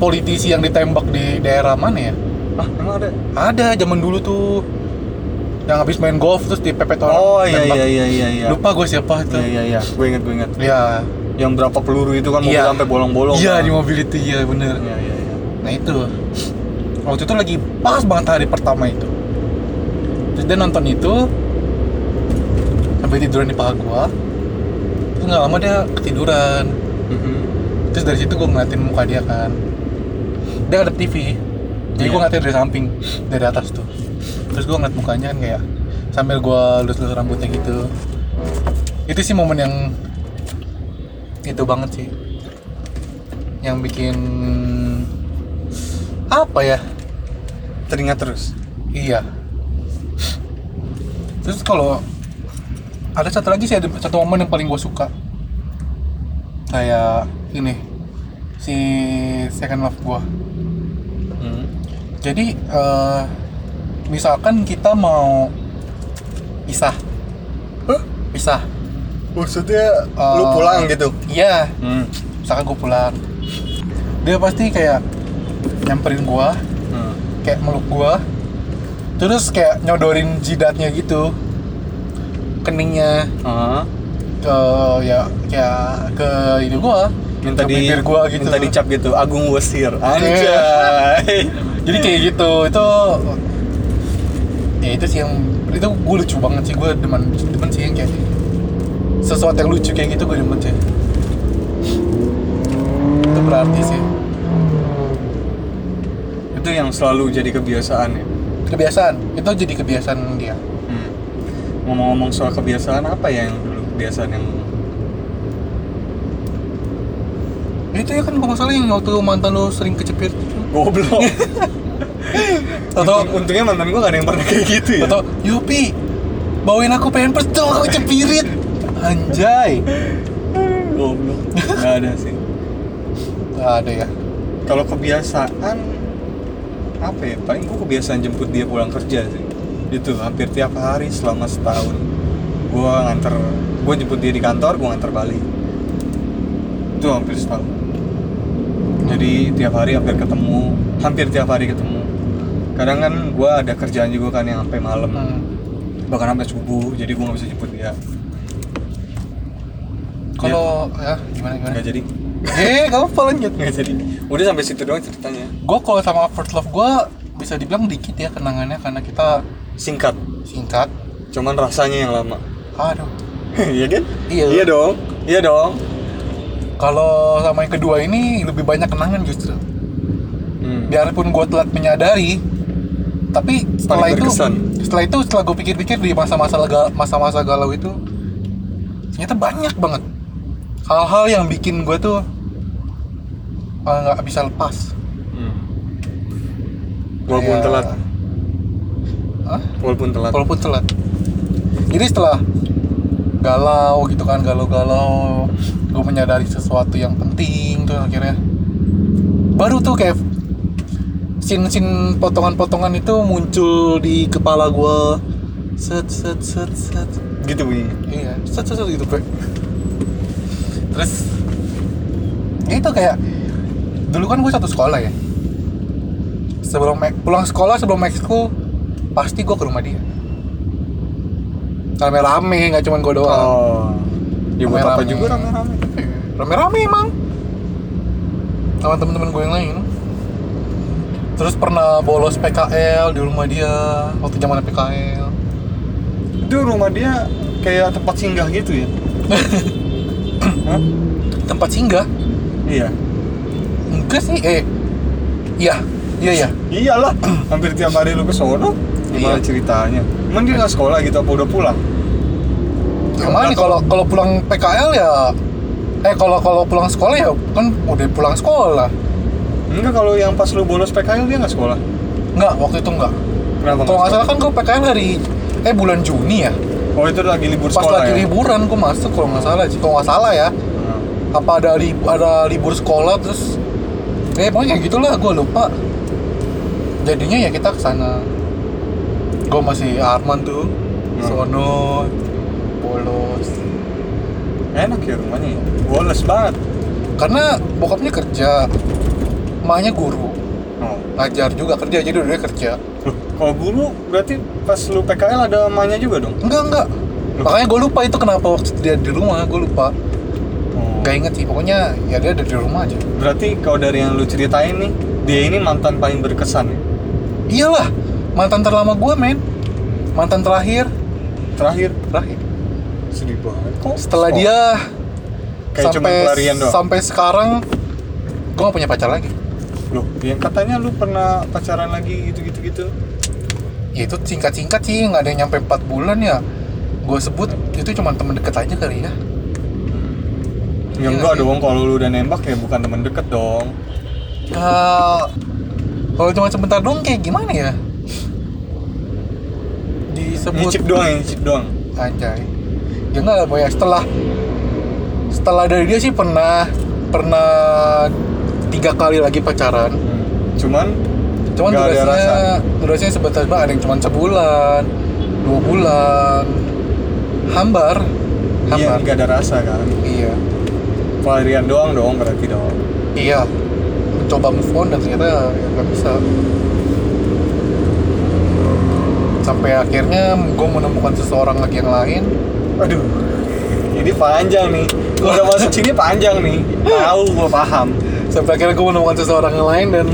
politisi yang ditembak di daerah mana ya
Ah emang ada?
Ada zaman dulu tuh yang habis main golf terus dipepet orang.
Oh iya
tembak.
iya iya iya iya
Lupa gue siapa itu.
Iya iya iya Gue inget gue inget
Iya.
Yang berapa peluru itu kan mobil
Iya.
sampai bolong-bolong
Iya
kan?
di mobility iya bener.
Iya iya iya
Nah itu waktu itu lagi pas banget hari pertama itu. Terus dia nonton itu sampai tiduran di paha gua. Terus nggak lama dia ketiduran.
Mhm.
Terus dari situ gua ngeliatin muka dia kan. Dia ada TV. Jadi
Iya.
gua ngeliatin dari samping, dari atas tuh. Terus gua ngeliat mukanya kan kayak sambil gua lus-lus rambutnya gitu. Itu sih momen yang itu banget sih. Yang bikin apa ya?
Teringat terus
Iya. Terus kalau ada satu lagi sih ada satu momen yang paling gue suka. Kayak ini si second love gue.
Mhm.
Jadi eh, misalkan kita mau pisah,
Hah?
pisah.
Maksudnya
Eh,
lu pulang gitu?
Iya,
Hmm.
misalkan gue pulang, dia pasti kayak nyamperin gue,
Hmm.
kayak meluk gue, terus kayak nyodorin jidatnya gitu, keningnya
Ah.
ke ya kayak ke hidung gue,
minta
Ke
di
bibir gua gitu.
minta dicap gitu Agung was here anjay
Iya. jadi kayak gitu itu ya itu sih yang itu gue lucu banget sih gue demen demen sih yang kayak sesuatu yang lucu kayak gitu gue demen sih itu berarti sih
itu yang selalu jadi kebiasaan ya
kebiasaan itu jadi kebiasaan dia
Hmm. ngomong-ngomong soal kebiasaan apa ya yang dulu kebiasaan yang
itu ya kan kalau salah yang waktu mantan lo sering kecepit
goblok atau untungnya mantan gue gak ada yang pernah kayak gitu ya
atau Yupi bawain aku pampers dong aku cepirit anjay
goblok gak ada sih
Gak ada ya
kalau kebiasaan apa ya paling gue kebiasaan jemput dia pulang kerja sih itu hampir tiap hari selama setahun gue nganter gue jemput dia di kantor gue nganter balik itu hampir setahun jadi tiap hari hampir ketemu hampir tiap hari ketemu kadang kan gue ada kerjaan juga kan yang sampai malam
Hmm.
bahkan sampai subuh jadi gue nggak bisa jemput dia
kalau ya gimana gimana
nggak jadi
eh kamu apa lanjut
nggak jadi udah sampai situ doang ceritanya
gue kalau sama first love gue bisa dibilang dikit ya kenangannya karena kita
singkat
singkat
cuman rasanya yang lama
aduh
iya kan
Iya.
iya dong iya dong
kalau sama yang kedua ini lebih banyak kenangan justru
Hmm.
biarpun gue telat menyadari tapi setelah
Paling
itu
berkesan.
setelah itu setelah gue pikir-pikir di masa-masa lega- masa-masa galau itu ternyata banyak banget hal-hal yang bikin gue tuh ah, nggak bisa lepas
Hmm. Walaupun
Kayak-
telat,
Hah?
walaupun telat.
walaupun telat jadi setelah galau gitu kan galau-galau gue menyadari sesuatu yang penting tuh akhirnya baru tuh kayak sin-sin potongan-potongan itu muncul di kepala gue set set set set
Gitu bunyinya.
iya set set, set gitu Pe. terus ya itu kayak dulu kan gue satu sekolah ya sebelum ek- pulang sekolah sebelum ekskul pasti gue ke rumah dia rame-rame nggak cuma gue doang
Oh. Ya buat apa
Rame-rame.
juga rame-rame.
Eh, rame-rame emang sama temen-temen gue yang lain terus pernah bolos PKL di rumah dia waktu zaman PKL
Itu rumah dia kayak tempat singgah gitu ya? Hah?
tempat singgah
Iya.
enggak sih eh iya iya iya
Iyalah, hampir tiap hari lu ke sono. Gimana
Iya.
ceritanya? Emang dia nggak sekolah gitu apa udah pulang?
Gimana nih kalau kalau pulang PKL ya eh kalau kalau pulang sekolah ya kan udah pulang sekolah.
Enggak kalau yang pas lu bolos PKL dia nggak sekolah.
Enggak, waktu itu enggak.
Kenapa?
Kalau nggak salah kan gue PKL hari eh bulan Juni ya.
sekolah? Oh itu lagi libur
Pas
sekolah
lagi
ya?
liburan gue masuk kalau nggak salah sih. Kalau nggak salah ya.
Nah.
Apa ada li- ada libur sekolah terus eh pokoknya kayak gitulah gue lupa. Jadinya ya kita kesana Gue masih Arman tuh.
Hmm.
Sono bolos.
Enak ya rumahnya ya? Bolos banget.
Karena bokapnya kerja. Emaknya guru.
Oh.
ngajar juga kerja jadi udah kerja
Loh, Kalau guru berarti pas lu PKL ada emaknya juga dong?
enggak enggak makanya gue lupa itu kenapa waktu dia di rumah gue lupa nggak inget sih pokoknya ya dia ada di rumah aja
Berarti kalau dari yang lu ceritain nih, dia ini mantan paling berkesan ya?
iyalah mantan terlama gue men mantan terakhir
Terakhir,
terakhir
sedih banget kok.
setelah
Oh,
dia
Kayak cuma
sampai
pelarian doang.
sampai sekarang gue gak punya pacar lagi
Loh, yang katanya lu pernah pacaran lagi gitu-gitu gitu.
ya itu singkat singkat sih nggak ada yang nyampe 4 bulan ya gue sebut itu cuma temen deket aja kali ya
Ya enggak dong, kalau lu udah nembak ya bukan temen deket dong.
Kalau Ya, kalau cuma sebentar dong kayak gimana ya? Disebut
Nyicip doang, ya, nyicip doang.
Anjay. Ya enggak lah Boy. setelah setelah dari dia sih pernah pernah tiga kali lagi pacaran.
Cuman
Cuman
nggak ada rasa.
durasinya durasinya sebentar doang ada yang cuma sebulan, dua bulan. Hambar,
Iya,
hambar.
enggak ada rasa kan.
Iya.
Pelarian doang dong berarti dong.
Iya. Mencoba move on dan ternyata ya nggak bisa. Sampai akhirnya gue menemukan seseorang lagi yang lain.
Aduh. ini panjang nih Kalau udah masuk sini panjang nih tahu gue paham
sampai akhirnya gue menemukan seseorang yang lain dan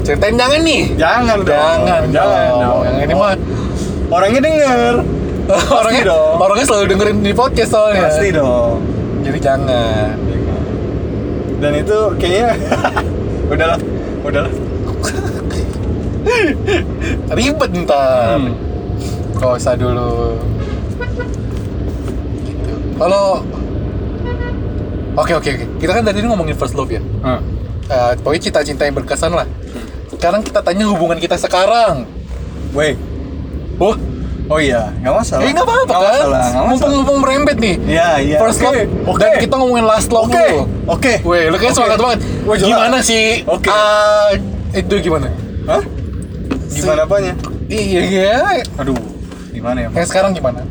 ceritain jangan nih
jangan dong
jangan
jangan
dong.
dong.
yang ini mah
orangnya denger
orangnya
dong.
orangnya selalu dengerin di podcast soalnya
pasti dong
jadi jangan
dan itu kayaknya udahlah udahlah
ribet ntar
Hmm.
Gak usah dulu gitu kalau oke oke oke kita kan tadi ngomongin first love ya Eh, pokoknya cita-cinta yang berkesan lah sekarang kita tanya hubungan kita sekarang
Weh,
oh
oh iya, nggak masalah.
eh nggak apa-apa
Nggak
kan
masalah, nggak masalah.
mumpung-mumpung merembet nih
Iya, iya.
first love
Oke, oke.
dan kita ngomongin last love
Oke,
dulu
oke.
Weh, lu kayaknya
Oke.
semangat banget.
Weh, jelas.
gimana sih?
Oke.
ah, itu gimana?
Hah? Gimana apanya?
Iya, iya.
Aduh, gimana ya? Pak?
Yang sekarang gimana?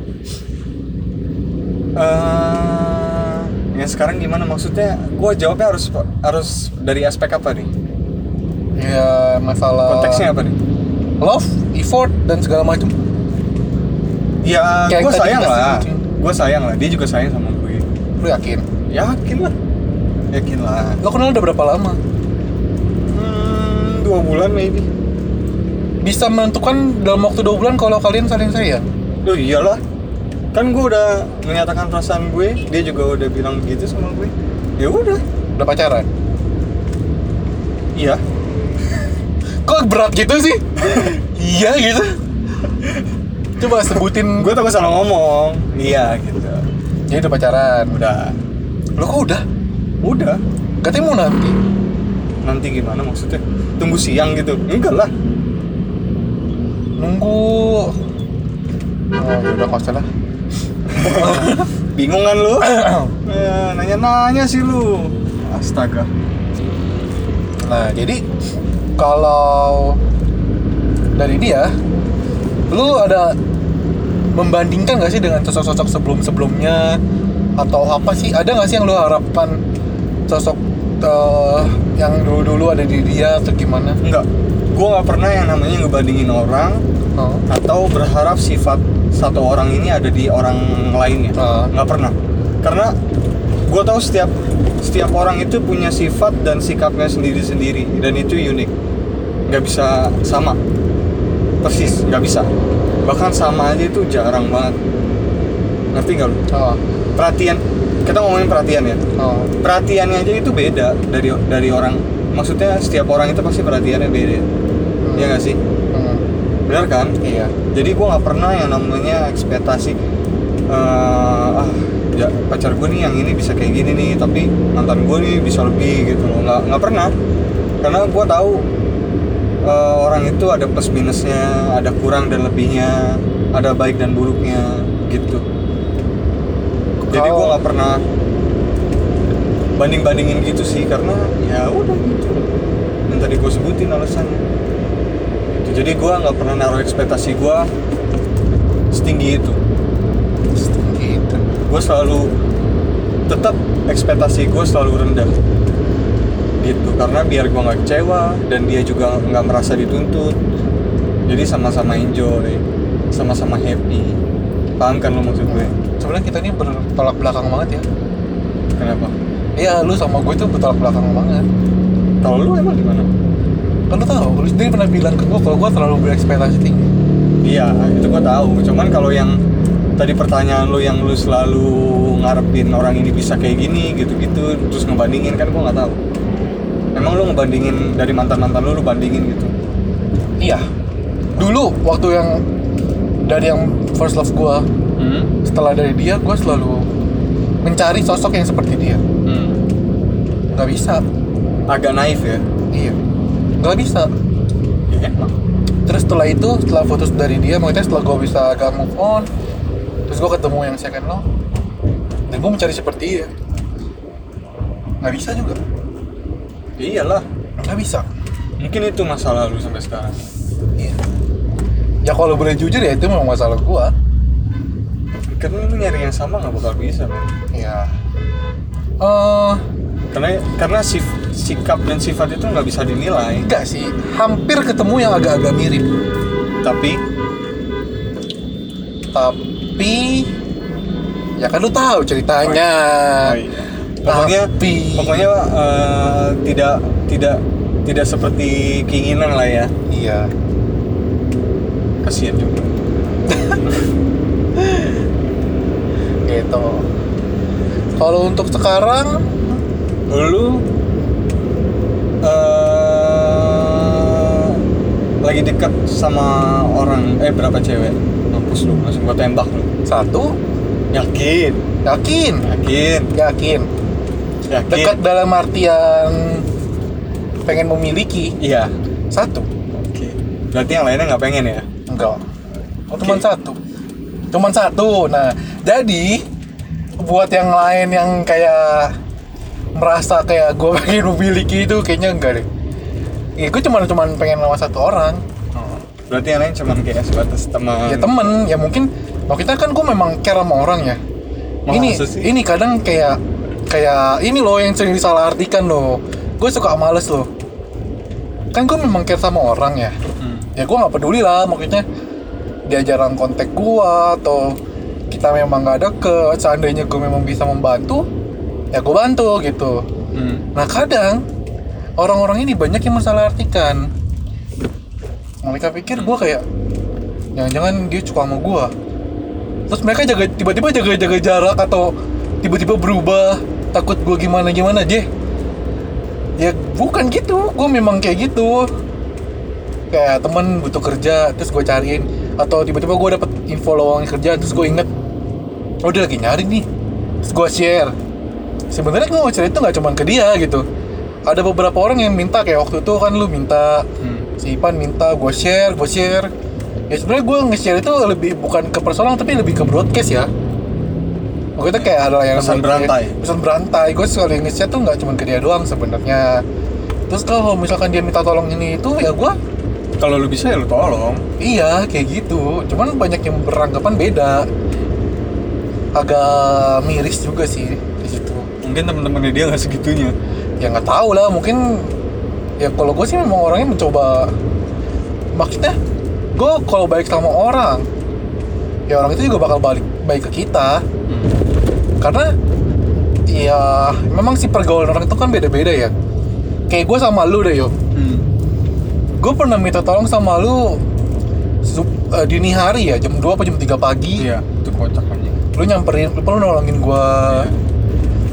Eh, ya sekarang gimana maksudnya? Gua jawabnya harus harus dari aspek apa nih?
Ya masalah
Konteksnya apa nih?
love, effort dan segala macam.
Ya,
Kayak
gue
tadi
sayang
kita
lah.
sebutin.
Gue sayang lah. Dia juga sayang sama gue.
Lu yakin?
Yakin lah. Yakin lah.
Lo kenal udah berapa lama?
Hmm, dua bulan maybe.
Bisa menentukan dalam waktu dua bulan kalau kalian saling sayang.
Loh iyalah. Kan gue udah menyatakan perasaan gue. Dia juga udah bilang begitu sama gue. Ya udah.
Udah pacaran?
Iya.
Kok berat gitu sih? iya gitu. Coba sebutin
Gue takut salah ngomong. Iya gitu.
Jadi udah pacaran.
Udah.
Lo kok udah?
Udah.
Katanya mau nanti.
Nanti gimana maksudnya? Tunggu siang gitu? Enggak lah.
Nunggu. Oh, ya udah nggak usah lah.
Bingungan kan lu? Eh, Nanya-nanya sih lu. Astaga.
Nah, jadi kalau dari dia, lu ada membandingkan nggak sih dengan sosok-sosok sebelum-sebelumnya atau apa sih? Ada nggak sih yang lu harapkan sosok eh, yang dulu-dulu ada di dia atau gimana?
Enggak. Gue nggak pernah yang namanya ngebandingin orang
Oh.
atau berharap sifat satu orang ini ada di orang lainnya.
Ah.
Nggak pernah. Karena gue tahu setiap setiap orang itu punya sifat dan sikapnya sendiri-sendiri dan itu unik. Nggak bisa sama. Persis, nggak bisa. Bahkan sama aja itu jarang banget. Ngerti nggak lu?
Oh.
Perhatian. Kita ngomongin perhatian ya
Oh.
perhatiannya aja itu beda dari dari orang maksudnya setiap orang itu pasti perhatiannya beda ya nggak sih
Hmm.
benar kan
Iya.
jadi gua nggak pernah yang namanya ekspektasi eh, ah ya pacar gue nih yang ini bisa kayak gini nih tapi mantan gue nih bisa lebih gitu loh nggak nggak pernah karena gua tahu eh, orang itu ada plus minusnya ada kurang dan lebihnya ada baik dan buruknya gitu jadi gue
Kalau-
nggak pernah banding bandingin gitu sih karena ya udah gitu yang tadi gue sebutin alasannya Gitu. jadi gue nggak pernah naruh ekspektasi gue setinggi itu
Gitu.
gue selalu tetap ekspektasi gue selalu rendah gitu karena biar gue nggak kecewa dan dia juga nggak merasa dituntut jadi sama-sama enjoy sama-sama happy paham kan lo maksud gue
Sebenarnya kita ini bertolak belakang banget ya.
kenapa
Iya, lu sama gue tuh bertolak belakang banget.
kalau lu emang gimana
Kan lu tahu, lu sendiri pernah bilang ke gue kalau gue terlalu berekspektasi tinggi.
Iya, itu gua tahu. Cuman kalau yang tadi pertanyaan lu yang lu selalu ngarepin orang ini bisa kayak gini gitu-gitu terus ngebandingin kan gua nggak tahu. Emang lu ngebandingin dari mantan-mantan lu lu bandingin gitu.
Iya. Dulu waktu yang dari yang first love gua
Hmm.
setelah dari dia, gua selalu mencari sosok yang seperti dia. Gak bisa.
Agak naif ya.
Iya. Gak bisa.
Ya emang.
Terus setelah itu, setelah putus dari dia, maksudnya setelah gua bisa agak move on, terus gua ketemu yang second love, dan gua mencari seperti dia. Gak bisa juga.
Iyalah.
Gak bisa.
Mungkin itu masalah lu sampai sekarang.
Iya. Ya kalau boleh jujur ya itu memang masalah gua.
Karena Kan lu nyari yang sama nggak bakal bisa, men.
Iya. Eh,
Karena karena sif- sikap dan sifat itu nggak bisa dinilai.
enggak sih. Hampir ketemu yang agak-agak mirip.
Tapi
tapi ya kan lu tahu ceritanya
Oh, iya. Pokoknya,
Tapi-
pokoknya eh, tidak tidak tidak seperti keinginan lah ya.
iya
Kasihan juga.
gitu kalau untuk sekarang
Lu eh lagi dekat sama orang eh berapa cewek? Mampus lu, langsung gua tembak lu.
satu
Yakin,
yakin
yakin,
yakin
yakin.
dekat dalam artian pengen memiliki
Iya.
satu
Oke. Berarti yang lainnya nggak pengen ya?
enggak Oh,
Oke.
cuman satu cuman satu nah jadi buat yang lain yang kayak merasa kayak gue pengen memiliki itu kayaknya enggak deh ya gue cuman cuman pengen sama satu orang
Berarti yang lain cuman kayak sebatas teman.
ya temen ya mungkin kalau kita kan gue memang care sama orang ya
Masa
ini
sih?
ini kadang kayak kayak ini loh yang sering disalahartikan loh gue suka males loh kan gue memang care sama orang ya
Hmm.
ya gue nggak peduli lah maksudnya dia jarang kontak gue atau kita memang nggak deket seandainya gue memang bisa membantu ya gue bantu gitu
Hmm.
Nah kadang orang-orang ini banyak yang masalah artikan. Nah, Mereka pikir gue kayak jangan-jangan dia suka sama gue. Terus mereka jaga tiba-tiba jaga-jaga jarak atau tiba-tiba berubah takut gue gimana gimana deh. Ya bukan gitu, gue memang kayak gitu. Kayak temen butuh kerja, terus gue cariin atau tiba-tiba gue dapet info lowongan kerja, terus gue inget, oh dia lagi nyari nih, terus gue share sebenarnya gue mau cerita nggak cuma ke dia gitu ada beberapa orang yang minta kayak waktu itu kan lu minta
Hmm.
si Ipan minta gue share gue share ya sebenarnya gue nge-share itu lebih bukan ke personal tapi lebih ke broadcast ya Waktu itu kayak ada yang
Pesan berantai.
pesan berantai gue sekali nge-share tuh nggak cuma ke dia doang sebenarnya terus kalau misalkan dia minta tolong ini itu ya gue
Kalau lu bisa ya lu tolong.
Iya, kayak gitu. Cuman banyak yang beranggapan beda. Agak miris juga sih di situ.
Mungkin teman-temannya dia nggak segitunya.
Ya nggak tahu lah, mungkin ya kalau gue sih memang orangnya mencoba maksudnya gue kalau baik sama orang ya orang itu juga bakal balik baik ke kita karena ya memang sih pergaulan orang itu kan beda-beda ya kayak gue sama lu deh yuk
Hmm.
gue pernah minta tolong sama lu sup- eh, dini hari ya jam 2 apa jam 3 pagi
Iya, itu kocak anjing.
lu nyamperin lu perlu nolongin gua
Iya.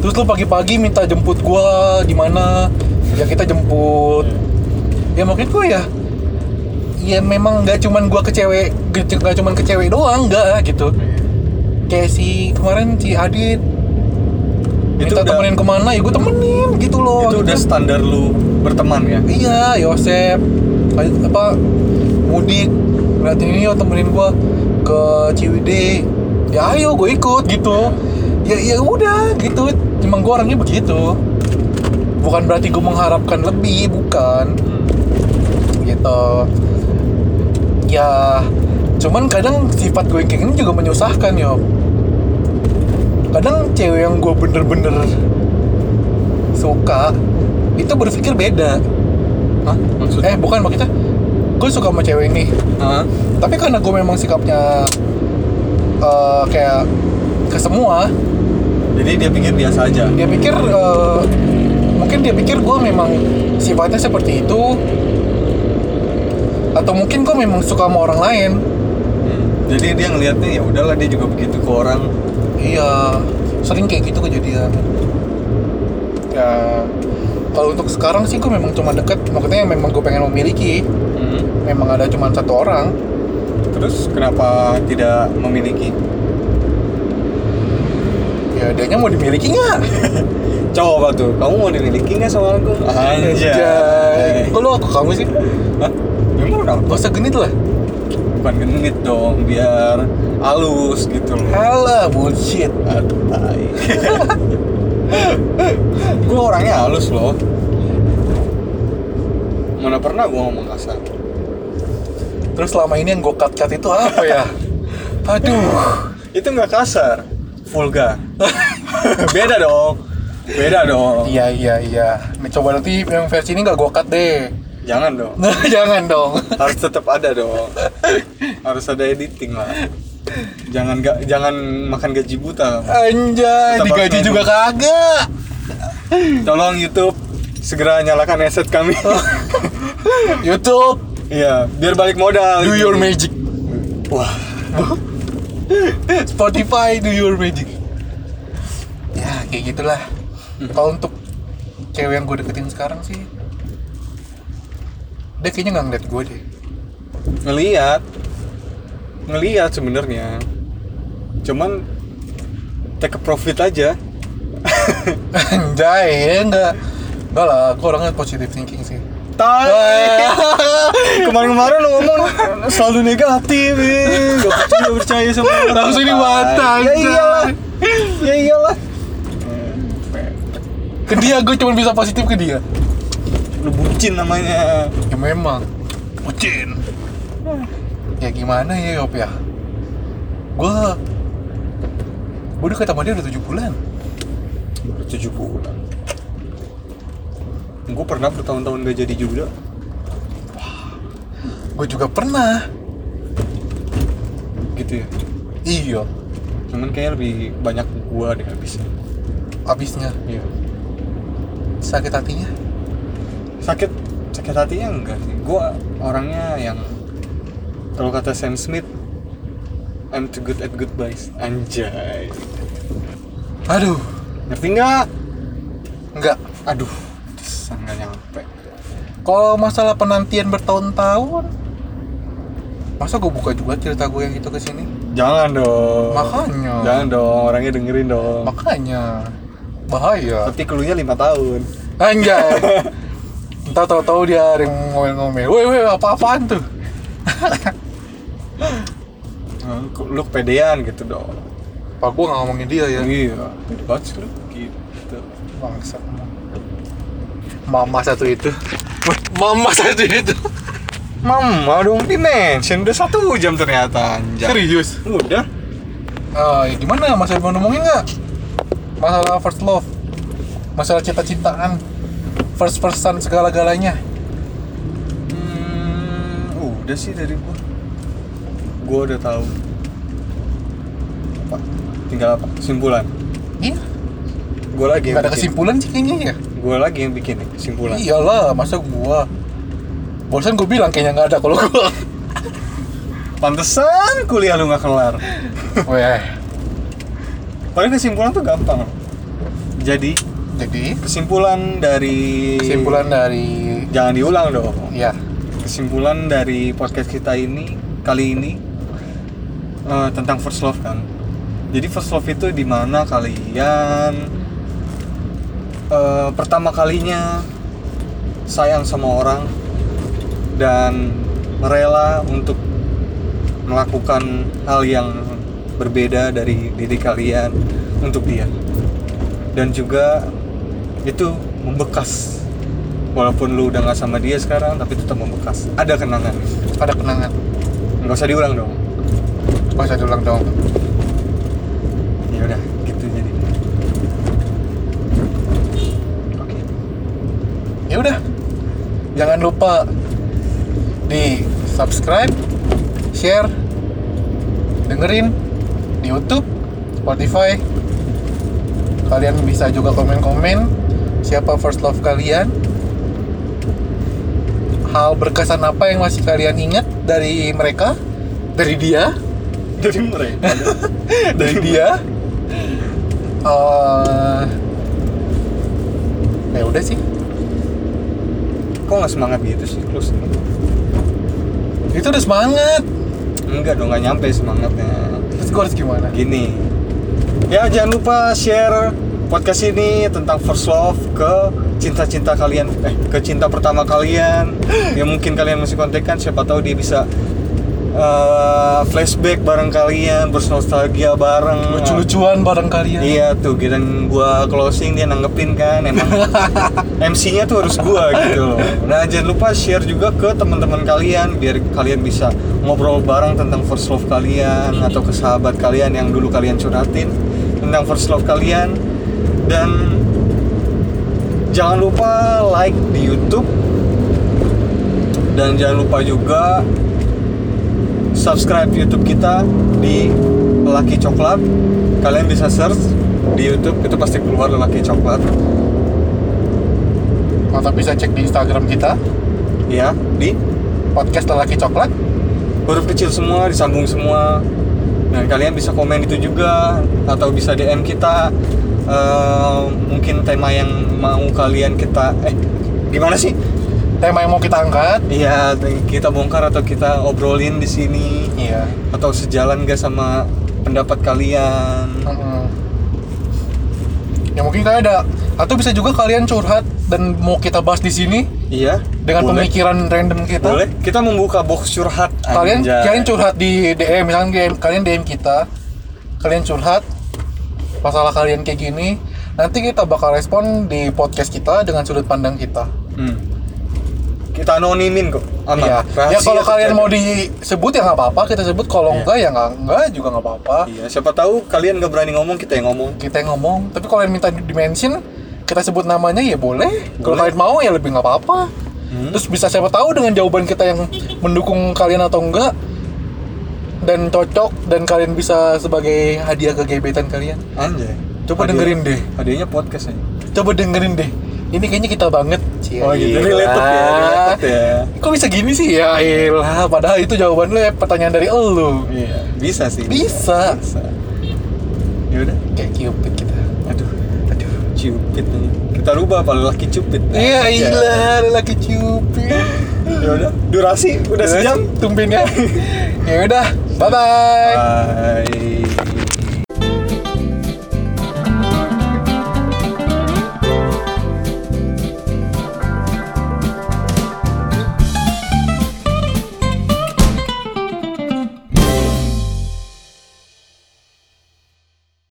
terus lu pagi-pagi minta jemput gua di mana ya kita jemput
Iya.
ya maksud gua ya ya memang nggak cuman gua ke cewek ge- nggak cuman ke cewek doang nggak gitu
Iya.
kayak si kemarin si Adit
Itu
minta
udah-
temenin kemana ya gua temenin gitu loh Akhirnya-
itu udah standar lu berteman ya.
Iya, Yosep. Lanjut apa mudik ngeliatin ini oh, temenin gua ke Ciwidey. Ya ayo gue ikut gitu. Ya ya udah gitu. Emang gua orangnya begitu. Bukan berarti gue mengharapkan lebih, bukan gitu. Ya cuman kadang sifat gue yang kayak gini juga menyusahkan yo. Kadang cewek yang gue bener-bener suka itu berpikir beda
Hah? Maksudnya?
eh bukan maksudnya gue suka sama cewek ini
Hah?
tapi karena gue memang sikapnya eh, kayak ke semua
Jadi dia pikir biasa aja.
dia pikir eh, mungkin dia pikir gue memang sifatnya seperti itu atau mungkin gue memang suka sama orang lain Hmm.
Jadi dia ngelihatnya ya udahlah dia juga begitu ke orang.
iya sering kayak gitu kejadian ya kalau untuk sekarang sih gue memang cuma deket maksudnya yang memang gue pengen memiliki memang ada cuma satu orang
Terus kenapa tidak memiliki?
ya dianya mau dimiliki nggak
Coba tuh, kamu mau dimiliki nggak sama aku? Anjay.
Kok lu aku kamu sih?
Hah? Memang kenapa?
Gak usah genit lah
Bukan genit dong, biar halus gitu loh.
Halah bullshit
gue orangnya halus loh. Mana pernah gue ngomong kasar?
Terus selama ini yang gue cut-cut itu apa ya? Aduh
Itu nggak kasar, vulgar. Beda dong, beda dong.
Iya iya iya Nih, Coba nanti yang versi ini gak gue cut deh Nah,
Jangan dong.
Jangan dong
Harus tetap ada dong. Harus ada editing lah. jangan ga, jangan makan gaji buta
Anjay,
Tetap
digaji
harus
juga kagak.
tolong YouTube segera nyalakan headset kami
YouTube,
iya biar balik modal
do your magic.
wah
Spotify, do your magic. Ya, kayak gitulah. Kalau untuk cewek yang gue deketin sekarang sih, dia kayaknya nggak ngeliat gue deh.
ngeliat ngeliat sebenarnya cuman take a profit aja
Anjay, ya enggak. Enggak lah, gue orangnya positive thinking sih.
Tai. Kemarin-kemarin lo ngomong selalu negatif, eh. gak percaya, gak percaya sama orang.
Langsung ini mata,
Ya
anjay.
iyalah, ya iyalah.
Ke dia, gue cuma bisa positif ke dia.
Lu bucin namanya.
Ya memang. Bucin. Ya gimana ya, Yop ya? Gue... Gue udah ketemu dia udah 7 bulan.
Baru Tujuh bulan. Gue pernah bertahun-tahun gak jadi juga.
Gue juga pernah.
gitu ya.
Iya,
Cuman kayaknya lebih banyak gua deh habisnya.
abisnya.
Iya.
Sakit hatinya.
Sakit, sakit hatinya enggak sih. Gua orangnya yang kalau kata Sam Smith, I'm too good at goodbyes. Anjay.
Aduh,
Ngerti nggak?
enggak.
Aduh, bisa nggak nyampe.
Kalau masalah penantian bertahun-tahun, masa gue buka juga cerita gue yang itu ke sini?
Jangan dong.
Makanya.
Jangan dong, orangnya dengerin dong.
Makanya bahaya.
Tapi keluarnya lima tahun.
Anjay. Entah tahu-tahu dia ada yang ngomel-ngomel. Woi, woi, apa-apaan tuh?
Nah, Lu kepedean gitu dong.
Pak gua nggak ngomongin dia ya.
Iya. Pede banget sih lu. Gitu.
Bangsa. Mama satu itu. Mama satu itu.
Mama dong di mention udah satu jam ternyata anjay.
Serius.
Udah.
Ah, ya gimana? Masih mau ngomongin nggak? Masalah first love. Masalah cinta-cintaan. First person segala-galanya.
Hmm, udah sih dari gua. Gua udah tahu. Apa? Tinggal apa? Kesimpulan.
Iya.
Gua lagi yang
Gak ada
bikin.
kesimpulan sih kayaknya ya.
Gua lagi yang bikin nih, kesimpulan.
Iyalah, masa gua. Bosan gua bilang kayaknya nggak ada kalau gua.
Pantesan kuliah lu nggak kelar.
Weh.
Paling kesimpulan tuh gampang. Jadi
Jadi
kesimpulan dari
kesimpulan dari
jangan diulang dong.
ya
Kesimpulan dari podcast kita ini kali ini eh, tentang first love kan. Jadi first love itu dimana kalian eh, pertama kalinya sayang sama orang dan rela untuk melakukan hal yang berbeda dari diri kalian untuk dia dan juga itu membekas walaupun lu udah nggak sama dia sekarang tapi tetap membekas ada kenangan
ada kenangan
nggak usah diulang dong
masa diulang dong
ya udah gitu jadi oke
ya udah jangan lupa di subscribe share dengerin di YouTube Spotify kalian bisa juga komen-komen siapa first love kalian hal berkesan apa yang masih kalian ingat dari mereka dari dia
dari mereka
dari dia eh ya udah sih
kok nggak semangat gitu sih close
itu udah semangat
enggak dong nggak nyampe semangatnya
terus gue harus gimana
gini ya jangan lupa share podcast ini tentang first love ke cinta-cinta kalian eh ke cinta pertama kalian yang mungkin kalian masih kontekan siapa tahu dia bisa eh, flashback bareng kalian bernostalgia bareng
lucu-lucuan ya. bareng kalian
Iya tuh, dan gua closing dia nanggepin kan emang MC-nya tuh harus gua gitu loh. Nah, jangan lupa share juga ke teman-teman kalian biar kalian bisa ngobrol bareng tentang first love kalian atau ke sahabat kalian yang dulu kalian curhatin tentang first love kalian dan jangan lupa like di YouTube dan jangan lupa juga subscribe YouTube kita di Lelaki Coklat. Kalian bisa search di YouTube itu pasti keluar Lelaki Coklat.
Atau bisa cek di Instagram kita,
Ya, di
podcast lelaki coklat.
huruf kecil semua disambung semua. Dan kalian bisa komen itu juga atau bisa DM kita eh, mungkin tema yang mau kalian kita eh gimana sih?
Tema yang mau kita angkat.
Iya, kita bongkar atau kita obrolin di sini
Iya.
atau sejalan gak sama pendapat kalian?
Ya mungkin kalian ada atau bisa juga kalian curhat dan mau kita bahas di sini
Iya.
dengan
boleh.
pemikiran random kita.
Boleh. Kita membuka box curhat.
Kalian
anjay.
kalian curhat di DM misalkan DM, kalian DM kita. Kalian curhat masalah kalian kayak gini. Nanti kita bakal respon di podcast kita dengan sudut pandang kita.
Hmm. Kita anonimin kok. Aman.
Iya.
Rahasia
Ya kalau kalian
terjaga.
mau disebut ya nggak apa-apa, kita sebut kalau
Nah, Iya.
enggak ya nggak enggak juga nggak apa-apa.
Iya, siapa tahu kalian gak berani ngomong, kita yang ngomong.
Kita yang ngomong, tapi kalau yang minta di mention kita sebut namanya ya boleh. Kalau
Boleh.
kalian mau ya lebih nggak apa-apa.
Hmm.
Terus bisa siapa tahu dengan jawaban kita yang mendukung kalian atau enggak dan cocok dan kalian bisa sebagai hadiah ke gebetan kalian.
Anjay.
Coba dengerin deh.
Hadiahnya podcast aja.
Coba dengerin deh. Ini kayaknya kita banget. Cie.
Oh
Iya.
gitu, related ya, related ya.
Kok bisa gini sih? Ya elah, padahal itu jawabannya pertanyaan dari elu.
Iya, bisa sih.
Bisa.
Bisa. Ya udah.
Kayak cupid gitu. kita.
Aduh, aduh, cupid nih. Kita rubah apa lelaki cupid.
Iya
Anjay.
ilah, lelaki cupid.
Ya udah, durasi udah sejam.
tumben ya. ya udah, bye bye.
Bye.